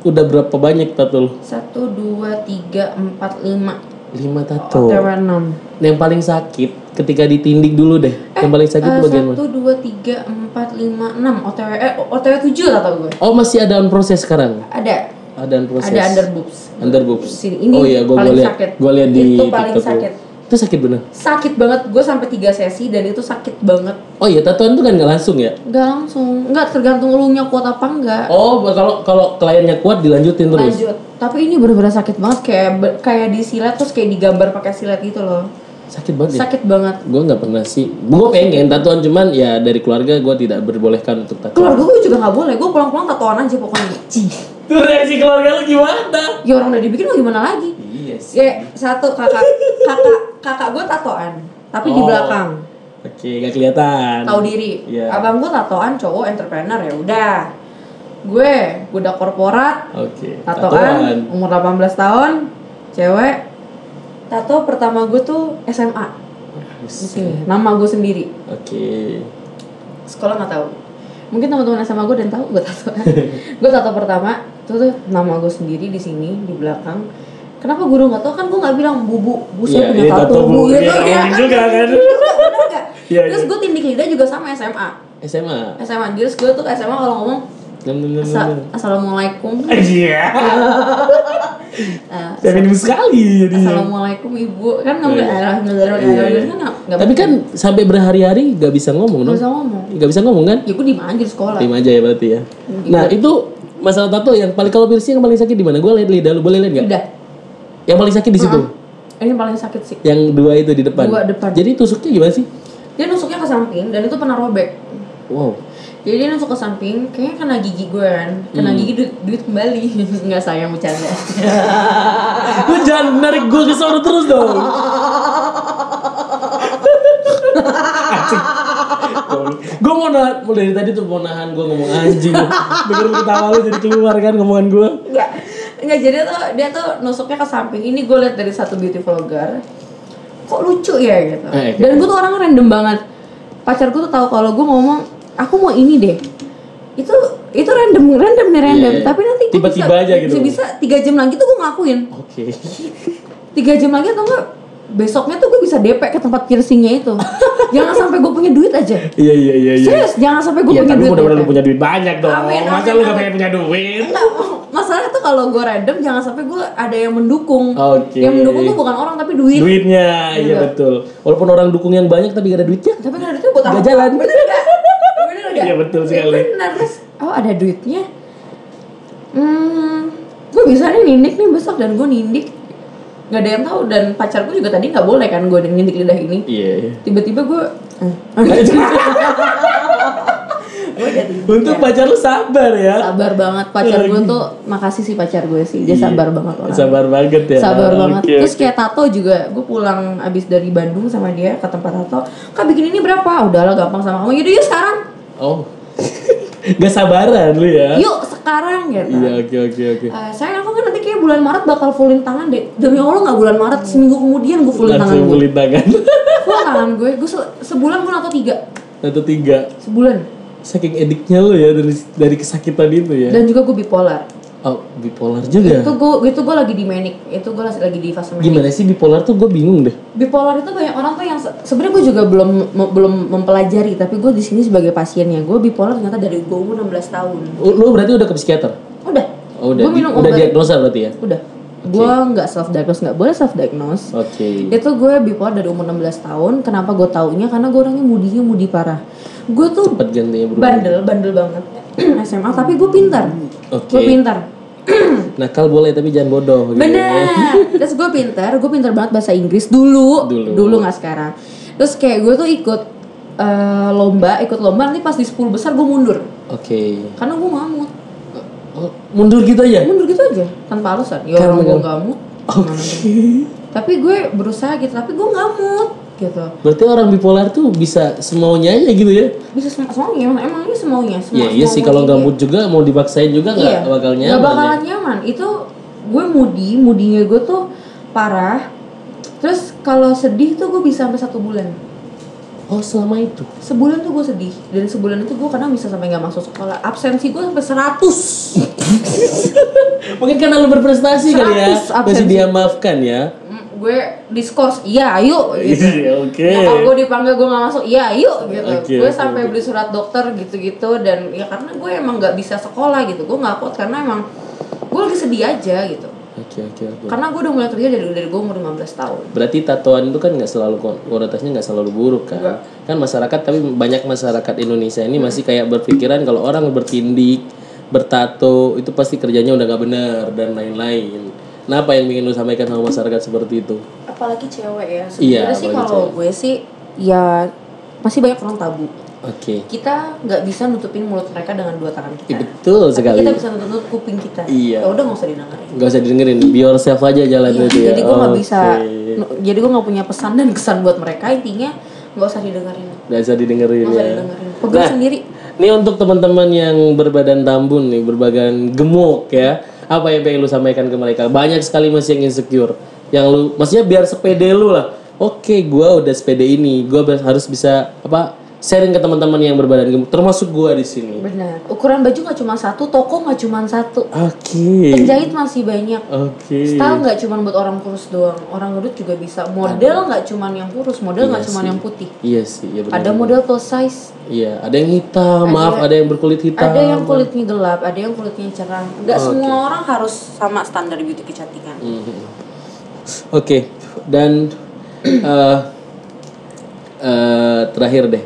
Speaker 1: udah berapa banyak tato lu?
Speaker 2: Satu, dua, tiga, empat, lima.
Speaker 1: Lima tato.
Speaker 2: Otw enam.
Speaker 1: Yang paling sakit ketika ditindik dulu deh. yang paling sakit itu bagian mana?
Speaker 2: Eh, satu dua tiga empat lima enam otw eh, otw tujuh lah tau gue
Speaker 1: Oh, masih ada on proses sekarang.
Speaker 2: ada
Speaker 1: Ada on proses.
Speaker 2: ada under boobs
Speaker 1: Underboobs.
Speaker 2: Sini, ini
Speaker 1: oh iya, gua
Speaker 2: paling
Speaker 1: gua liat.
Speaker 2: sakit.
Speaker 1: Gua liat di
Speaker 2: Itu paling
Speaker 1: TikTok lu.
Speaker 2: sakit.
Speaker 1: Itu sakit bener.
Speaker 2: sakit banget gue sampai tiga sesi dan itu sakit banget
Speaker 1: Oh iya, tatoan tuh kan nggak langsung ya?
Speaker 2: nggak langsung nggak tergantung lu nya kuat apa enggak
Speaker 1: Oh, kalau kalau kliennya kuat dilanjutin Oh, terus.
Speaker 2: lanjut tapi ini bener-bener sakit banget kayak be- kayak disilet terus kayak digambar pakai silet gitu loh
Speaker 1: Sakit banget ya?
Speaker 2: sakit banget
Speaker 1: Gue nggak pernah sih. Gue pengen tatoan cuman ya dari keluarga gue tidak berbolehkan untuk tatoan.
Speaker 2: keluarga gue juga nggak boleh gue pulang-pulang tatoan aja pokoknya Cih.
Speaker 1: Tuh reaksi keluarga lu gimana?
Speaker 2: ya orang udah dibikin mau gimana lagi
Speaker 1: Iya sih.
Speaker 2: ya satu kakak kakak kakak gue tatoan tapi di
Speaker 1: Oh.
Speaker 2: belakang
Speaker 1: Oke, nggak kelihatan.
Speaker 2: tahu diri.
Speaker 1: Iya.
Speaker 2: Abang gue tatoan cowok entrepreneur ya udah. Gue udah korporat,
Speaker 1: Oke.
Speaker 2: tatoan, umur 18 tahun, cewek. Tato pertama gue tuh SMA. Di sini, nama gue sendiri.
Speaker 1: Oke.
Speaker 2: Sekolah nggak tahu. Mungkin teman-teman SMA gue dan tahu gue tato. gue tato pertama itu tuh nama gue sendiri di sini di belakang. Kenapa guru nggak tahu kan gue nggak bilang bubu, bu
Speaker 1: Iya,
Speaker 2: saya punya
Speaker 1: ini
Speaker 2: tato
Speaker 1: tato, Bu.
Speaker 2: bu,
Speaker 1: Iya,
Speaker 2: gitu
Speaker 1: tato
Speaker 2: ya.
Speaker 1: mungkin juga, kan?
Speaker 2: Bener nggak?
Speaker 1: Iya,
Speaker 2: Terus
Speaker 1: iya.
Speaker 2: gue tindik lidah juga sama SMA.
Speaker 1: Eh, SMA.
Speaker 2: SMA terus gue tuh SMA kalau ngomong
Speaker 1: Nem nem nem.
Speaker 2: "Asa-
Speaker 1: nem.
Speaker 2: assalamualaikum.
Speaker 1: Iya.
Speaker 2: Nah,
Speaker 1: Feminim sekali jadi.
Speaker 2: assalamualaikum ibu kan nggak boleh alhamdulillah kan nggak- nggak
Speaker 1: Iya. Tapi kan sampai berhari-hari gak bisa ngomong
Speaker 2: nggak
Speaker 1: dong.
Speaker 2: bisa ngomong.
Speaker 1: Gak bisa ngomong kan?
Speaker 2: Ya gue diem aja di sekolah.
Speaker 1: Lima aja ya berarti ya. Nah itu masalah tato yang paling kalau piercing yang paling sakit di mana? Gue lihat lidah lu boleh lihat nggak?
Speaker 2: Udah.
Speaker 1: Yang paling sakit di situ.
Speaker 2: Ini yang paling sakit sih.
Speaker 1: Yang dua itu di depan.
Speaker 2: Dua depan.
Speaker 1: Jadi tusuknya gimana sih?
Speaker 2: Dia nusuknya ke samping dan itu pernah robek.
Speaker 1: Wow.
Speaker 2: Jadi dia nusuk ke samping, kayaknya kena gigi gue kan. Kena
Speaker 1: Hmm.
Speaker 2: gigi duit, duit kembali. Nggak sayang bercanda.
Speaker 1: Lu jangan narik gue ke sono terus dong. gue mau nahan, mau dari tadi tuh mau nahan gue ngomong anjing. Dengar ketawa lu jadi keluar kan ngomongan gue.
Speaker 2: Nggak. Nggak, jadi tuh dia tuh nusuknya ke samping. Ini gue lihat dari satu beauty vlogger. Kok lucu ya gitu.
Speaker 1: Eh, oke.
Speaker 2: Dan gue tuh orang random banget. Pacar gue tuh tahu kalau gue ngomong, aku mau ini deh. Itu itu random, random nih random.
Speaker 1: Iya, iya.
Speaker 2: Tapi nanti gue
Speaker 1: Tiba-tiba aja gitu.
Speaker 2: Bisa tiga jam lagi tuh gue ngelakuin.
Speaker 1: Oke.
Speaker 2: tiga jam lagi atau enggak besoknya tuh gue bisa depek ke tempat piercingnya itu jangan sampai gue punya duit aja
Speaker 1: Iya iya iya iya.
Speaker 2: serius jangan sampai gue
Speaker 1: Iya
Speaker 2: punya
Speaker 1: tapi
Speaker 2: duit
Speaker 1: mudah-mudahan lu
Speaker 2: depek.
Speaker 1: punya duit banyak dong.
Speaker 2: Amin,
Speaker 1: Masa
Speaker 2: amin,
Speaker 1: lu gak
Speaker 2: amin.
Speaker 1: pengen punya duit?
Speaker 2: Enggak, masalahnya tuh kalau gue random jangan sampai gue ada yang mendukung
Speaker 1: Oke.
Speaker 2: yang mendukung tuh bukan orang tapi duit,
Speaker 1: Duitnya, iya
Speaker 2: Iya.
Speaker 1: betul. Walaupun orang dukung yang banyak tapi gak ada duitnya.
Speaker 2: tapi kalau duitnya buat
Speaker 1: Nggak
Speaker 2: apa
Speaker 1: jalan.
Speaker 2: bener gak bener gak
Speaker 1: Iya, betul sekali.
Speaker 2: bener terus oh ada duitnya hmm gue bisa nih nindik nih besok dan gue nindik nggak ada yang tahu dan pacarku juga tadi nggak boleh kan gue nindik lidah ini
Speaker 1: Iya. iya.
Speaker 2: tiba-tiba gue gue jadi
Speaker 1: Untuk pacar lu sabar ya.
Speaker 2: sabar banget pacar gue tuh makasih sih pacar gue sih dia sabar banget orang
Speaker 1: Iya. Sabar banget ya.
Speaker 2: sabar
Speaker 1: Oke,
Speaker 2: banget
Speaker 1: oke.
Speaker 2: terus kayak tato juga gue pulang abis dari Bandung sama dia ke tempat tato kak bikin ini berapa udahlah gampang sama kamu yaudah yuk sekarang
Speaker 1: Oh. Gak sabaran lu ya.
Speaker 2: yuk sekarang gitu
Speaker 1: Iya, oke oke oke.
Speaker 2: Eh, sayang aku kan nanti kayak bulan Maret bakal fullin tangan deh Demi Allah gak bulan Maret, seminggu kemudian gue fullin tangan
Speaker 1: Langsung
Speaker 2: gue
Speaker 1: kulit tangan.
Speaker 2: Full tangan gue, gue se- sebulan gue nato tiga
Speaker 1: Atau Nah, tiga.
Speaker 2: Sebulan
Speaker 1: Saking ediknya lu ya dari dari kesakitan itu ya.
Speaker 2: Dan juga gue bipolar
Speaker 1: Oh, bipolar juga.
Speaker 2: Itu gue itu gue lagi di manic, itu gue lagi di fase manic.
Speaker 1: Gimana sih bipolar tuh gue bingung deh.
Speaker 2: Bipolar itu banyak orang tuh yang se- sebenarnya gue juga belum me- belum mempelajari, tapi gue di sini sebagai pasiennya. Gue bipolar ternyata dari gue umur 16 tahun.
Speaker 1: Lu berarti udah ke psikiater?
Speaker 2: Udah.
Speaker 1: Oh, udah.
Speaker 2: Gue minum
Speaker 1: udah
Speaker 2: obat.
Speaker 1: diagnosa berarti ya.
Speaker 2: udah. Gue nggak self diagnose, nggak boleh self diagnose.
Speaker 1: Oke.
Speaker 2: Itu gue bipolar dari umur 16 tahun. Kenapa gue taunya? Karena gue orangnya mudinya mudi parah. Gue tuh
Speaker 1: Cepat gantinya bro.
Speaker 2: bandel, bandel banget. SMA tapi gue pintar.
Speaker 1: Oke.
Speaker 2: Gue pintar.
Speaker 1: Nakal boleh tapi jangan bodoh. gitu.
Speaker 2: Bener. Terus gue pinter, gue pinter banget bahasa Inggris dulu,
Speaker 1: Dulu.
Speaker 2: dulu nggak sekarang. Terus kayak gue tuh ikut eh, lomba, ikut lomba nanti pas di 10 besar gue mundur,
Speaker 1: Oke.
Speaker 2: karena gue ngamut.
Speaker 1: Oh, mundur gitu aja.
Speaker 2: Mundur gitu aja, tanpa alasan. Ya orang gue ngamut.
Speaker 1: Oke.
Speaker 2: gitu. Tapi gue berusaha gitu, tapi gue ngamut gitu.
Speaker 1: Berarti orang bipolar tuh bisa semaunya aja gitu ya?
Speaker 2: Bisa sem- semuanya, emang, emang ini semuanya.
Speaker 1: Ya
Speaker 2: Semua,
Speaker 1: iya
Speaker 2: semua
Speaker 1: sih kalau
Speaker 2: moodnya.
Speaker 1: nggak mood juga mau dipaksain juga nggak
Speaker 2: Iya,
Speaker 1: bakal nyaman. ya.
Speaker 2: nggak bakalan nyaman. Itu gue moody, moodinya gue tuh parah. Terus kalau sedih tuh gue bisa sampai satu bulan.
Speaker 1: Oh selama itu.
Speaker 2: sebulan tuh gue sedih dan sebulan itu gue kadang bisa sampai nggak masuk sekolah absensi gue sampai 100
Speaker 1: Iya. Mungkin karena lu berprestasi kali ya,
Speaker 2: 100 absensi.
Speaker 1: masih dia maafkan ya.
Speaker 2: Mm, gue diskors iya ayo gitu.
Speaker 1: Iya, Oke.
Speaker 2: Nyokap gue dipanggil gue nggak masuk iya ayo gitu
Speaker 1: Oke,
Speaker 2: gue
Speaker 1: oke,
Speaker 2: sampai
Speaker 1: oke.
Speaker 2: beli surat dokter gitu-gitu dan ya karena gue emang nggak bisa sekolah gitu gue nggak kuat karena emang gue lagi sedih aja gitu
Speaker 1: Oke oke oke.
Speaker 2: karena gue udah mulai kerja dari dari gue umur 15 tahun
Speaker 1: Berarti tatoan itu kan nggak selalu kon- konotasinya nggak selalu buruk kan? Kan masyarakat tapi banyak masyarakat Indonesia ini masih kayak berpikiran kalau orang bertindik, bertato itu pasti kerjanya udah nggak benar dan lain-lain. Nah apa yang ingin lu sampaikan sama masyarakat seperti itu?
Speaker 2: apalagi cewek ya sebenarnya
Speaker 1: Iya,
Speaker 2: sih
Speaker 1: apalagi
Speaker 2: kalau gue sih ya masih banyak orang tabu
Speaker 1: Oke.
Speaker 2: kita nggak bisa nutupin mulut mereka dengan dua tangan
Speaker 1: Ih,
Speaker 2: kita
Speaker 1: Iya, Betul sekali.
Speaker 2: kita bisa nutup kuping kita
Speaker 1: Iya.
Speaker 2: ya udah nggak usah didengerin
Speaker 1: Gak usah didengerin, be yourself aja jalan
Speaker 2: Iya,
Speaker 1: itu ya.
Speaker 2: jadi gue nggak
Speaker 1: Oke.
Speaker 2: bisa nu- jadi gue nggak punya pesan dan kesan buat mereka intinya nggak usah didengerin
Speaker 1: Nggak usah didengerin
Speaker 2: nggak usah
Speaker 1: ya.
Speaker 2: didengerin pegang
Speaker 1: Nah.
Speaker 2: sendiri
Speaker 1: Ini untuk teman-teman yang berbadan tambun nih, berbadan gemuk ya. Apa yang pengen lu sampaikan ke mereka? Banyak sekali masih yang insecure. Yang lu maksudnya biar sepede lu lah. Oke, gua udah sepede ini, gua be- harus bisa apa? sharing ke teman-teman yang berbadan gemuk termasuk gua di sini.
Speaker 2: Benar. Ukuran baju nggak cuma satu, toko nggak cuma satu.
Speaker 1: Oke.
Speaker 2: Penjahit masih banyak.
Speaker 1: Oke.
Speaker 2: Style nggak cuma buat orang kurus doang, orang gendut juga bisa. Model nggak cuma yang kurus, model nggak cuma yang putih.
Speaker 1: Iya sih, iya benar.
Speaker 2: Ada model plus size,
Speaker 1: Iya, ada yang hitam, maaf, ada yang berkulit hitam.
Speaker 2: ada yang kulitnya gelap, ada yang kulitnya cerah. Nggak semua orang harus sama standar beauty kecantikan.
Speaker 1: Oke, dan eh, eh, terakhir deh,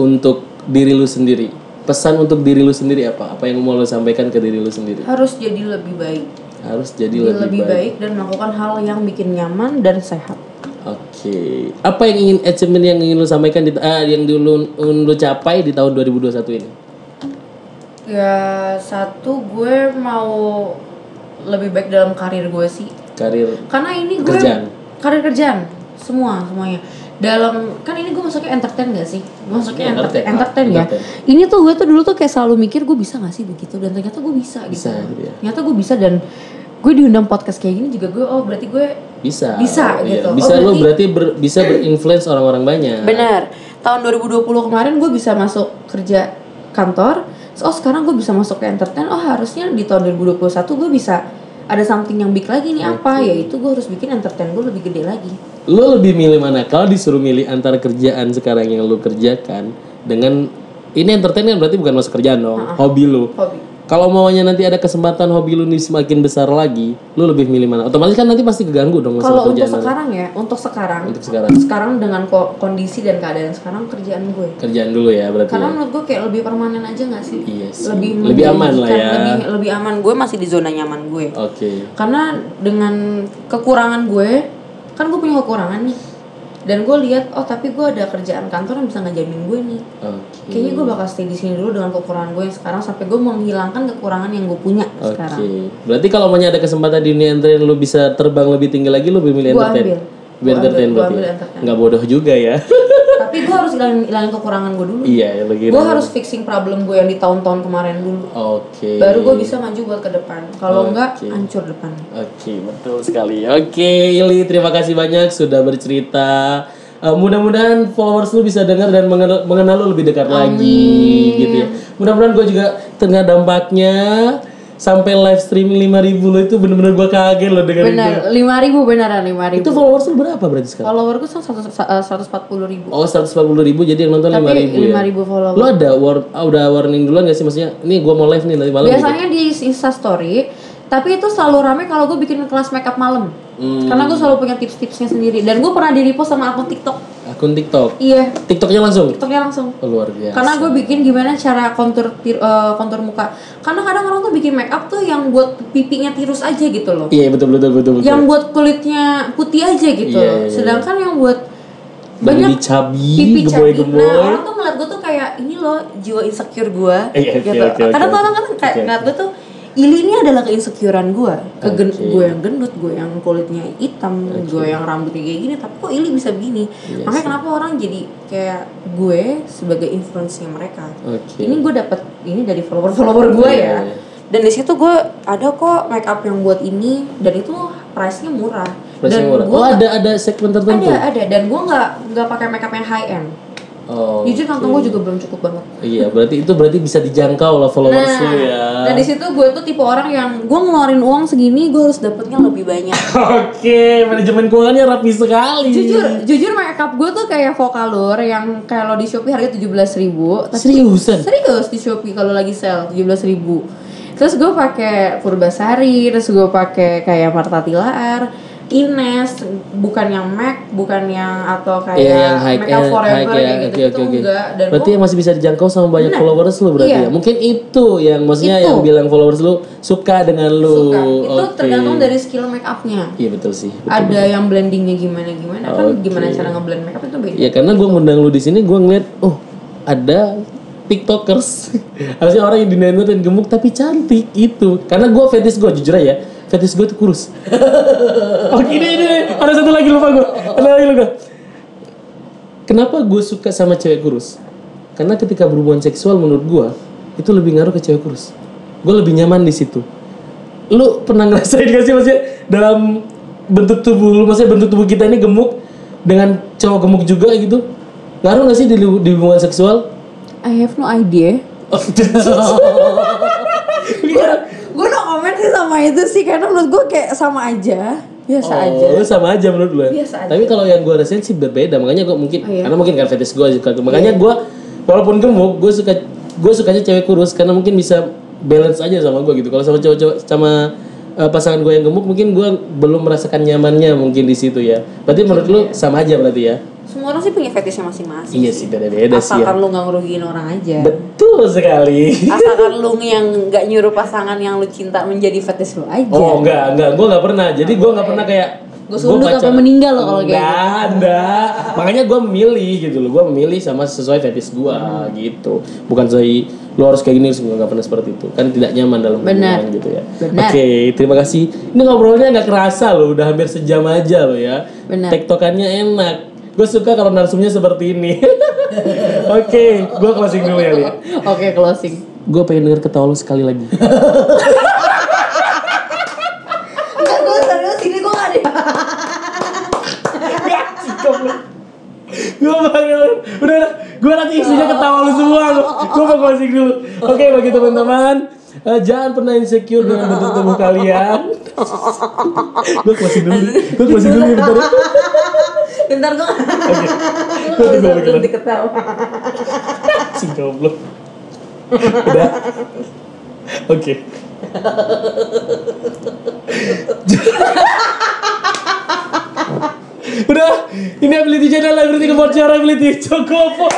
Speaker 1: untuk diri lu sendiri, pesan untuk diri lu sendiri apa? Apa yang mau lu sampaikan ke diri lu sendiri?
Speaker 2: Harus jadi lebih baik,
Speaker 1: Harus jadi
Speaker 2: jadi
Speaker 1: lebih,
Speaker 2: lebih
Speaker 1: baik.
Speaker 2: baik dan melakukan hal yang bikin nyaman dan sehat.
Speaker 1: Oke, apa yang ingin achievement yang ingin lu sampaikan di ah, yang dulu lu capai di tahun 2021 ini?
Speaker 2: Ya satu gue mau lebih baik dalam karir gue sih.
Speaker 1: Karir
Speaker 2: Karena ini gue
Speaker 1: Kerjaan.
Speaker 2: karir kerjaan semua semuanya. Dalam kan ini gue masuknya entertain gak sih? Gue Masuknya
Speaker 1: Entertain,
Speaker 2: entertain,
Speaker 1: ah,
Speaker 2: entertain ya.
Speaker 1: entertain.
Speaker 2: Ini tuh gue tuh dulu tuh kayak selalu mikir gue bisa gak sih begitu dan ternyata gue bisa,
Speaker 1: Bisa,
Speaker 2: gitu.
Speaker 1: iya.
Speaker 2: Ternyata gue bisa dan gue diundang podcast kayak gini juga gue oh berarti gue
Speaker 1: bisa.
Speaker 2: Bisa,
Speaker 1: iya.
Speaker 2: gitu. Oh,
Speaker 1: Bisa lu
Speaker 2: berarti-
Speaker 1: berarti ber- bisa berinfluence orang-orang banyak.
Speaker 2: Benar. Tahun 2020 kemarin gue bisa masuk kerja kantor. Terus, Oh sekarang gue bisa masuk ke entertain. Oh harusnya di tahun 2021 gue bisa ada something yang big lagi nih apa? Yaitu gue harus bikin entertain gue lebih gede lagi.
Speaker 1: Lu lebih milih mana? Kalau disuruh milih antara kerjaan sekarang yang lu kerjakan dengan ini entertainment berarti bukan masuk kerjaan dong, hobi lu.
Speaker 2: Hobi.
Speaker 1: Kalau maunya nanti ada kesempatan hobi lu nih semakin besar lagi, lu lebih milih mana? Otomatis kan nanti pasti keganggu dong masalah
Speaker 2: Kalau untuk
Speaker 1: kerjaan.
Speaker 2: sekarang ya, untuk sekarang,
Speaker 1: Untuk sekarang.
Speaker 2: sekarang dengan ko- kondisi dan keadaan sekarang kerjaan gue.
Speaker 1: Kerjaan dulu ya berarti.
Speaker 2: Karena
Speaker 1: ya.
Speaker 2: menurut gue kayak lebih permanen aja gak sih?
Speaker 1: Iya sih.
Speaker 2: Lebih
Speaker 1: Lebih aman lah
Speaker 2: menjanjikan,
Speaker 1: ya.
Speaker 2: Lebih, lebih aman. Gue masih di zona nyaman gue.
Speaker 1: Oke.
Speaker 2: karena dengan kekurangan gue kan gue punya kekurangan nih dan gue lihat oh tapi gue ada kerjaan kantor yang bisa ngejamin gue nih
Speaker 1: Oke.
Speaker 2: kayaknya gue bakal stay di sini dulu dengan kekurangan gue yang sekarang sampai gue menghilangkan kekurangan yang gue punya
Speaker 1: Oke. Iya,
Speaker 2: sekarang
Speaker 1: Berarti kalau maunya ada kesempatan di dunia entertain lu bisa terbang lebih tinggi lagi lu lebih milih
Speaker 2: Gua
Speaker 1: entertain.
Speaker 2: ambil.
Speaker 1: Biar
Speaker 2: Gua
Speaker 1: entertain
Speaker 2: ambil- gua
Speaker 1: berarti.
Speaker 2: ambil
Speaker 1: ya?
Speaker 2: entertain.
Speaker 1: Nggak bodoh juga ya.
Speaker 2: tapi gue harus hilangin, hilangin kekurangan gue dulu
Speaker 1: iya, ya begitu.
Speaker 2: gue harus fixing problem gue yang di tahun-tahun kemarin dulu
Speaker 1: Oke.
Speaker 2: baru gue bisa maju buat ke depan kalau enggak hancur depan
Speaker 1: Oke, betul sekali. Oke, Ili, terima kasih banyak sudah bercerita. Eh, mudah-mudahan followers lu bisa dengar dan mengenal, mengenal lu lebih dekat lagi gitu ya. Mudah-mudahan gue juga tengah dampaknya sampai live streaming 5000 lu itu bener-bener gue kaget lo dengerin itu.
Speaker 2: benar lima ribu beneran lima
Speaker 1: Itu
Speaker 2: ribu
Speaker 1: followers lu berapa berarti sekarang?
Speaker 2: follower gue seratus empat puluh ribu
Speaker 1: Oh, 140 ribu jadi yang nonton 5000
Speaker 2: tapi
Speaker 1: ya.
Speaker 2: lima ribu follower
Speaker 1: Lu ada war, ah, udah warning duluan gak sih maksudnya? Ini gue mau live nih nanti malam. gitu.
Speaker 2: biasanya di Insta Story tapi itu selalu rame kalau gue bikin kelas makeup malam
Speaker 1: Hmm.
Speaker 2: karena gue selalu punya tips-tipsnya sendiri dan gue pernah di repost sama akun TikTok
Speaker 1: Akun TikTok.
Speaker 2: iya
Speaker 1: TikToknya langsung.
Speaker 2: TikToknya langsung
Speaker 1: Oh, luar biasa.
Speaker 2: karena gue bikin gimana cara kontur tir- eh, kontur muka karena kadang orang tuh bikin makeup tuh yang buat pipinya tirus aja gitu loh
Speaker 1: Iya, betul betul betul betul.
Speaker 2: yang buat kulitnya putih aja gitu
Speaker 1: Iya,
Speaker 2: loh
Speaker 1: iya, iya.
Speaker 2: sedangkan yang buat
Speaker 1: banyak
Speaker 2: banyak
Speaker 1: dicabi
Speaker 2: pipi cantik
Speaker 1: gemoy-gemoy
Speaker 2: nah orang tuh ngeliat gue tuh kayak ini loh jiwa insecure gue
Speaker 1: Iya, oke,
Speaker 2: gitu
Speaker 1: oke,
Speaker 2: karena
Speaker 1: oke.
Speaker 2: tuh orang kan kayak
Speaker 1: Oke,
Speaker 2: ngeliat gue tuh Ili ini adalah keinsecurean gue, kegen
Speaker 1: Oke.
Speaker 2: gue yang gendut, gue yang kulitnya hitam, gue yang rambutnya kayak gini. Tapi kok Ili bisa begini?
Speaker 1: Iya
Speaker 2: Makanya kenapa orang jadi kayak gue sebagai influence-nya mereka.
Speaker 1: Oke.
Speaker 2: Ini gue dapat ini dari follower-follower gue
Speaker 1: Iya,
Speaker 2: ya.
Speaker 1: iya.
Speaker 2: Dan di situ gue ada kok make up yang buat ini dan itu price-nya murah.
Speaker 1: Price-nya
Speaker 2: dan
Speaker 1: murah.
Speaker 2: gua
Speaker 1: oh
Speaker 2: nggak-
Speaker 1: ada ada segmen tertentu
Speaker 2: ada ada dan gue nggak nggak pakai makeup yang high end
Speaker 1: oh
Speaker 2: jujur kantong gue juga belum cukup banget
Speaker 1: iya berarti itu berarti bisa dijangkau lah followers lu ya
Speaker 2: Nah, dan di situ gue tuh tipe orang yang gue ngeluarin uang segini gue harus dapetnya lebih banyak
Speaker 1: oke manajemen keuangannya rapi sekali
Speaker 2: jujur jujur makeup gue tuh kayak Vokalur yang kalau di Shopee harga tujuh belas ribu
Speaker 1: seriusan
Speaker 2: serius di Shopee kalau lagi sale tujuh belas ribu terus gue pakai Purbasari terus gue pakai kayak Marta Tilaar Ines bukan yang MAC bukan yang atau kayak
Speaker 1: Iya yang high end,
Speaker 2: makeup
Speaker 1: high
Speaker 2: forever
Speaker 1: ya,
Speaker 2: gitu
Speaker 1: oke
Speaker 2: gitu
Speaker 1: oke oke.
Speaker 2: enggak dan
Speaker 1: Berarti
Speaker 2: gua-
Speaker 1: yang masih bisa dijangkau sama banyak
Speaker 2: Benar.
Speaker 1: followers lu berarti
Speaker 2: Iya.
Speaker 1: ya. Mungkin itu yang maksudnya
Speaker 2: Itu.
Speaker 1: yang bilang followers lu suka dengan lu.
Speaker 2: suka. Itu
Speaker 1: Oke.
Speaker 2: tergantung dari skill make upnya.
Speaker 1: Iya betul sih.
Speaker 2: Ada yang blendingnya gimana gimana kan gimana cara ngeblend make up itu beda.
Speaker 1: Ya karena gue ngundang lu di sini gue ngeliat oh ada tiktokers harusnya orang yang dinaikin dan gemuk tapi cantik itu karena gue fetish gue jujur aja ya fetish gue tuh kurus oke ini ini ini. ada satu lagi lupa gue ada lagi lupa kenapa gue suka sama cewek kurus karena ketika berhubungan seksual menurut gue itu lebih ngaruh ke cewek kurus gue lebih nyaman di situ lu pernah ngerasain gak sih maksudnya dalam bentuk tubuh lu maksudnya bentuk tubuh kita ini gemuk dengan cowok gemuk juga gitu
Speaker 3: Ngaruh nggak sih di, lu- di hubungan seksual?
Speaker 2: I have no idea.
Speaker 3: Oh,
Speaker 2: Gue no comment sih sama itu sih karena menurut gue kayak sama aja, biasa aja.
Speaker 3: lu sama aja menurut
Speaker 1: ya?
Speaker 3: gue.
Speaker 2: Biasa aja.
Speaker 3: Oh. Tapi kalau yang gue rasain sih berbeda, makanya gue mungkin
Speaker 2: Oh, iya.
Speaker 3: karena mungkin karena fetish gue suka makanya gue walaupun gemuk gue suka gue sukanya cewek kurus karena mungkin bisa balance aja sama gue gitu. Kalau sama cowok-cowok sama eh, pasangan gue yang gemuk mungkin gue belum merasakan nyamannya mungkin di situ ya. Berarti menurut lu sama aja berarti ya?
Speaker 2: Semua orang sih punya fetishnya masing-masing.
Speaker 3: Iya sih beda-beda sih ya.
Speaker 2: Asalkan lu nggak ngerugiin orang aja.
Speaker 3: Betul sekali.
Speaker 2: Asalkan lu yang nggak nyuruh pasangan yang lu cinta menjadi fetish lu aja.
Speaker 3: Oh enggak, enggak, gue enggak pernah. Jadi gue enggak pernah kayak
Speaker 2: Gua sundut sampai meninggal loh kalau kayak gitu.
Speaker 3: Enggak, enggak. Makanya gue memilih gitu loh. Gue memilih sama sesuai fetish gue gitu. Bukan sesuai lu harus kayak gini, gue enggak pernah seperti itu. Kan tidak nyaman dalam
Speaker 2: Benar.
Speaker 3: hubungan gitu ya.
Speaker 2: Benar.
Speaker 3: Oke, terima kasih. Ini ngobrolnya enggak kerasa loh, udah hampir sejam aja loh ya.
Speaker 2: Benar.
Speaker 3: Tektokannya enak. Gue suka kalau narsumnya seperti ini. Oke, gue closing dulu ya, Lia.
Speaker 2: Oke closing.
Speaker 3: Gue pengen denger ketawa lu sekali lagi.
Speaker 2: Enggak gue serius ini gue nggak ada.
Speaker 3: gue bakal udah udah gue nanti isinya ketawa lu semua lu gue mau closing dulu oke bagi teman-teman eh, jangan pernah insecure dengan bentuk tubuh kalian gue closing dulu gue closing dulu ya, bentar
Speaker 2: Bentar gue. Gue
Speaker 3: Gua tunggu
Speaker 2: bisa
Speaker 3: lagi,
Speaker 2: berhenti
Speaker 3: Lan.
Speaker 2: ketawa.
Speaker 3: si goblok udah oke udah ini ability channel ability kebocor ability cukup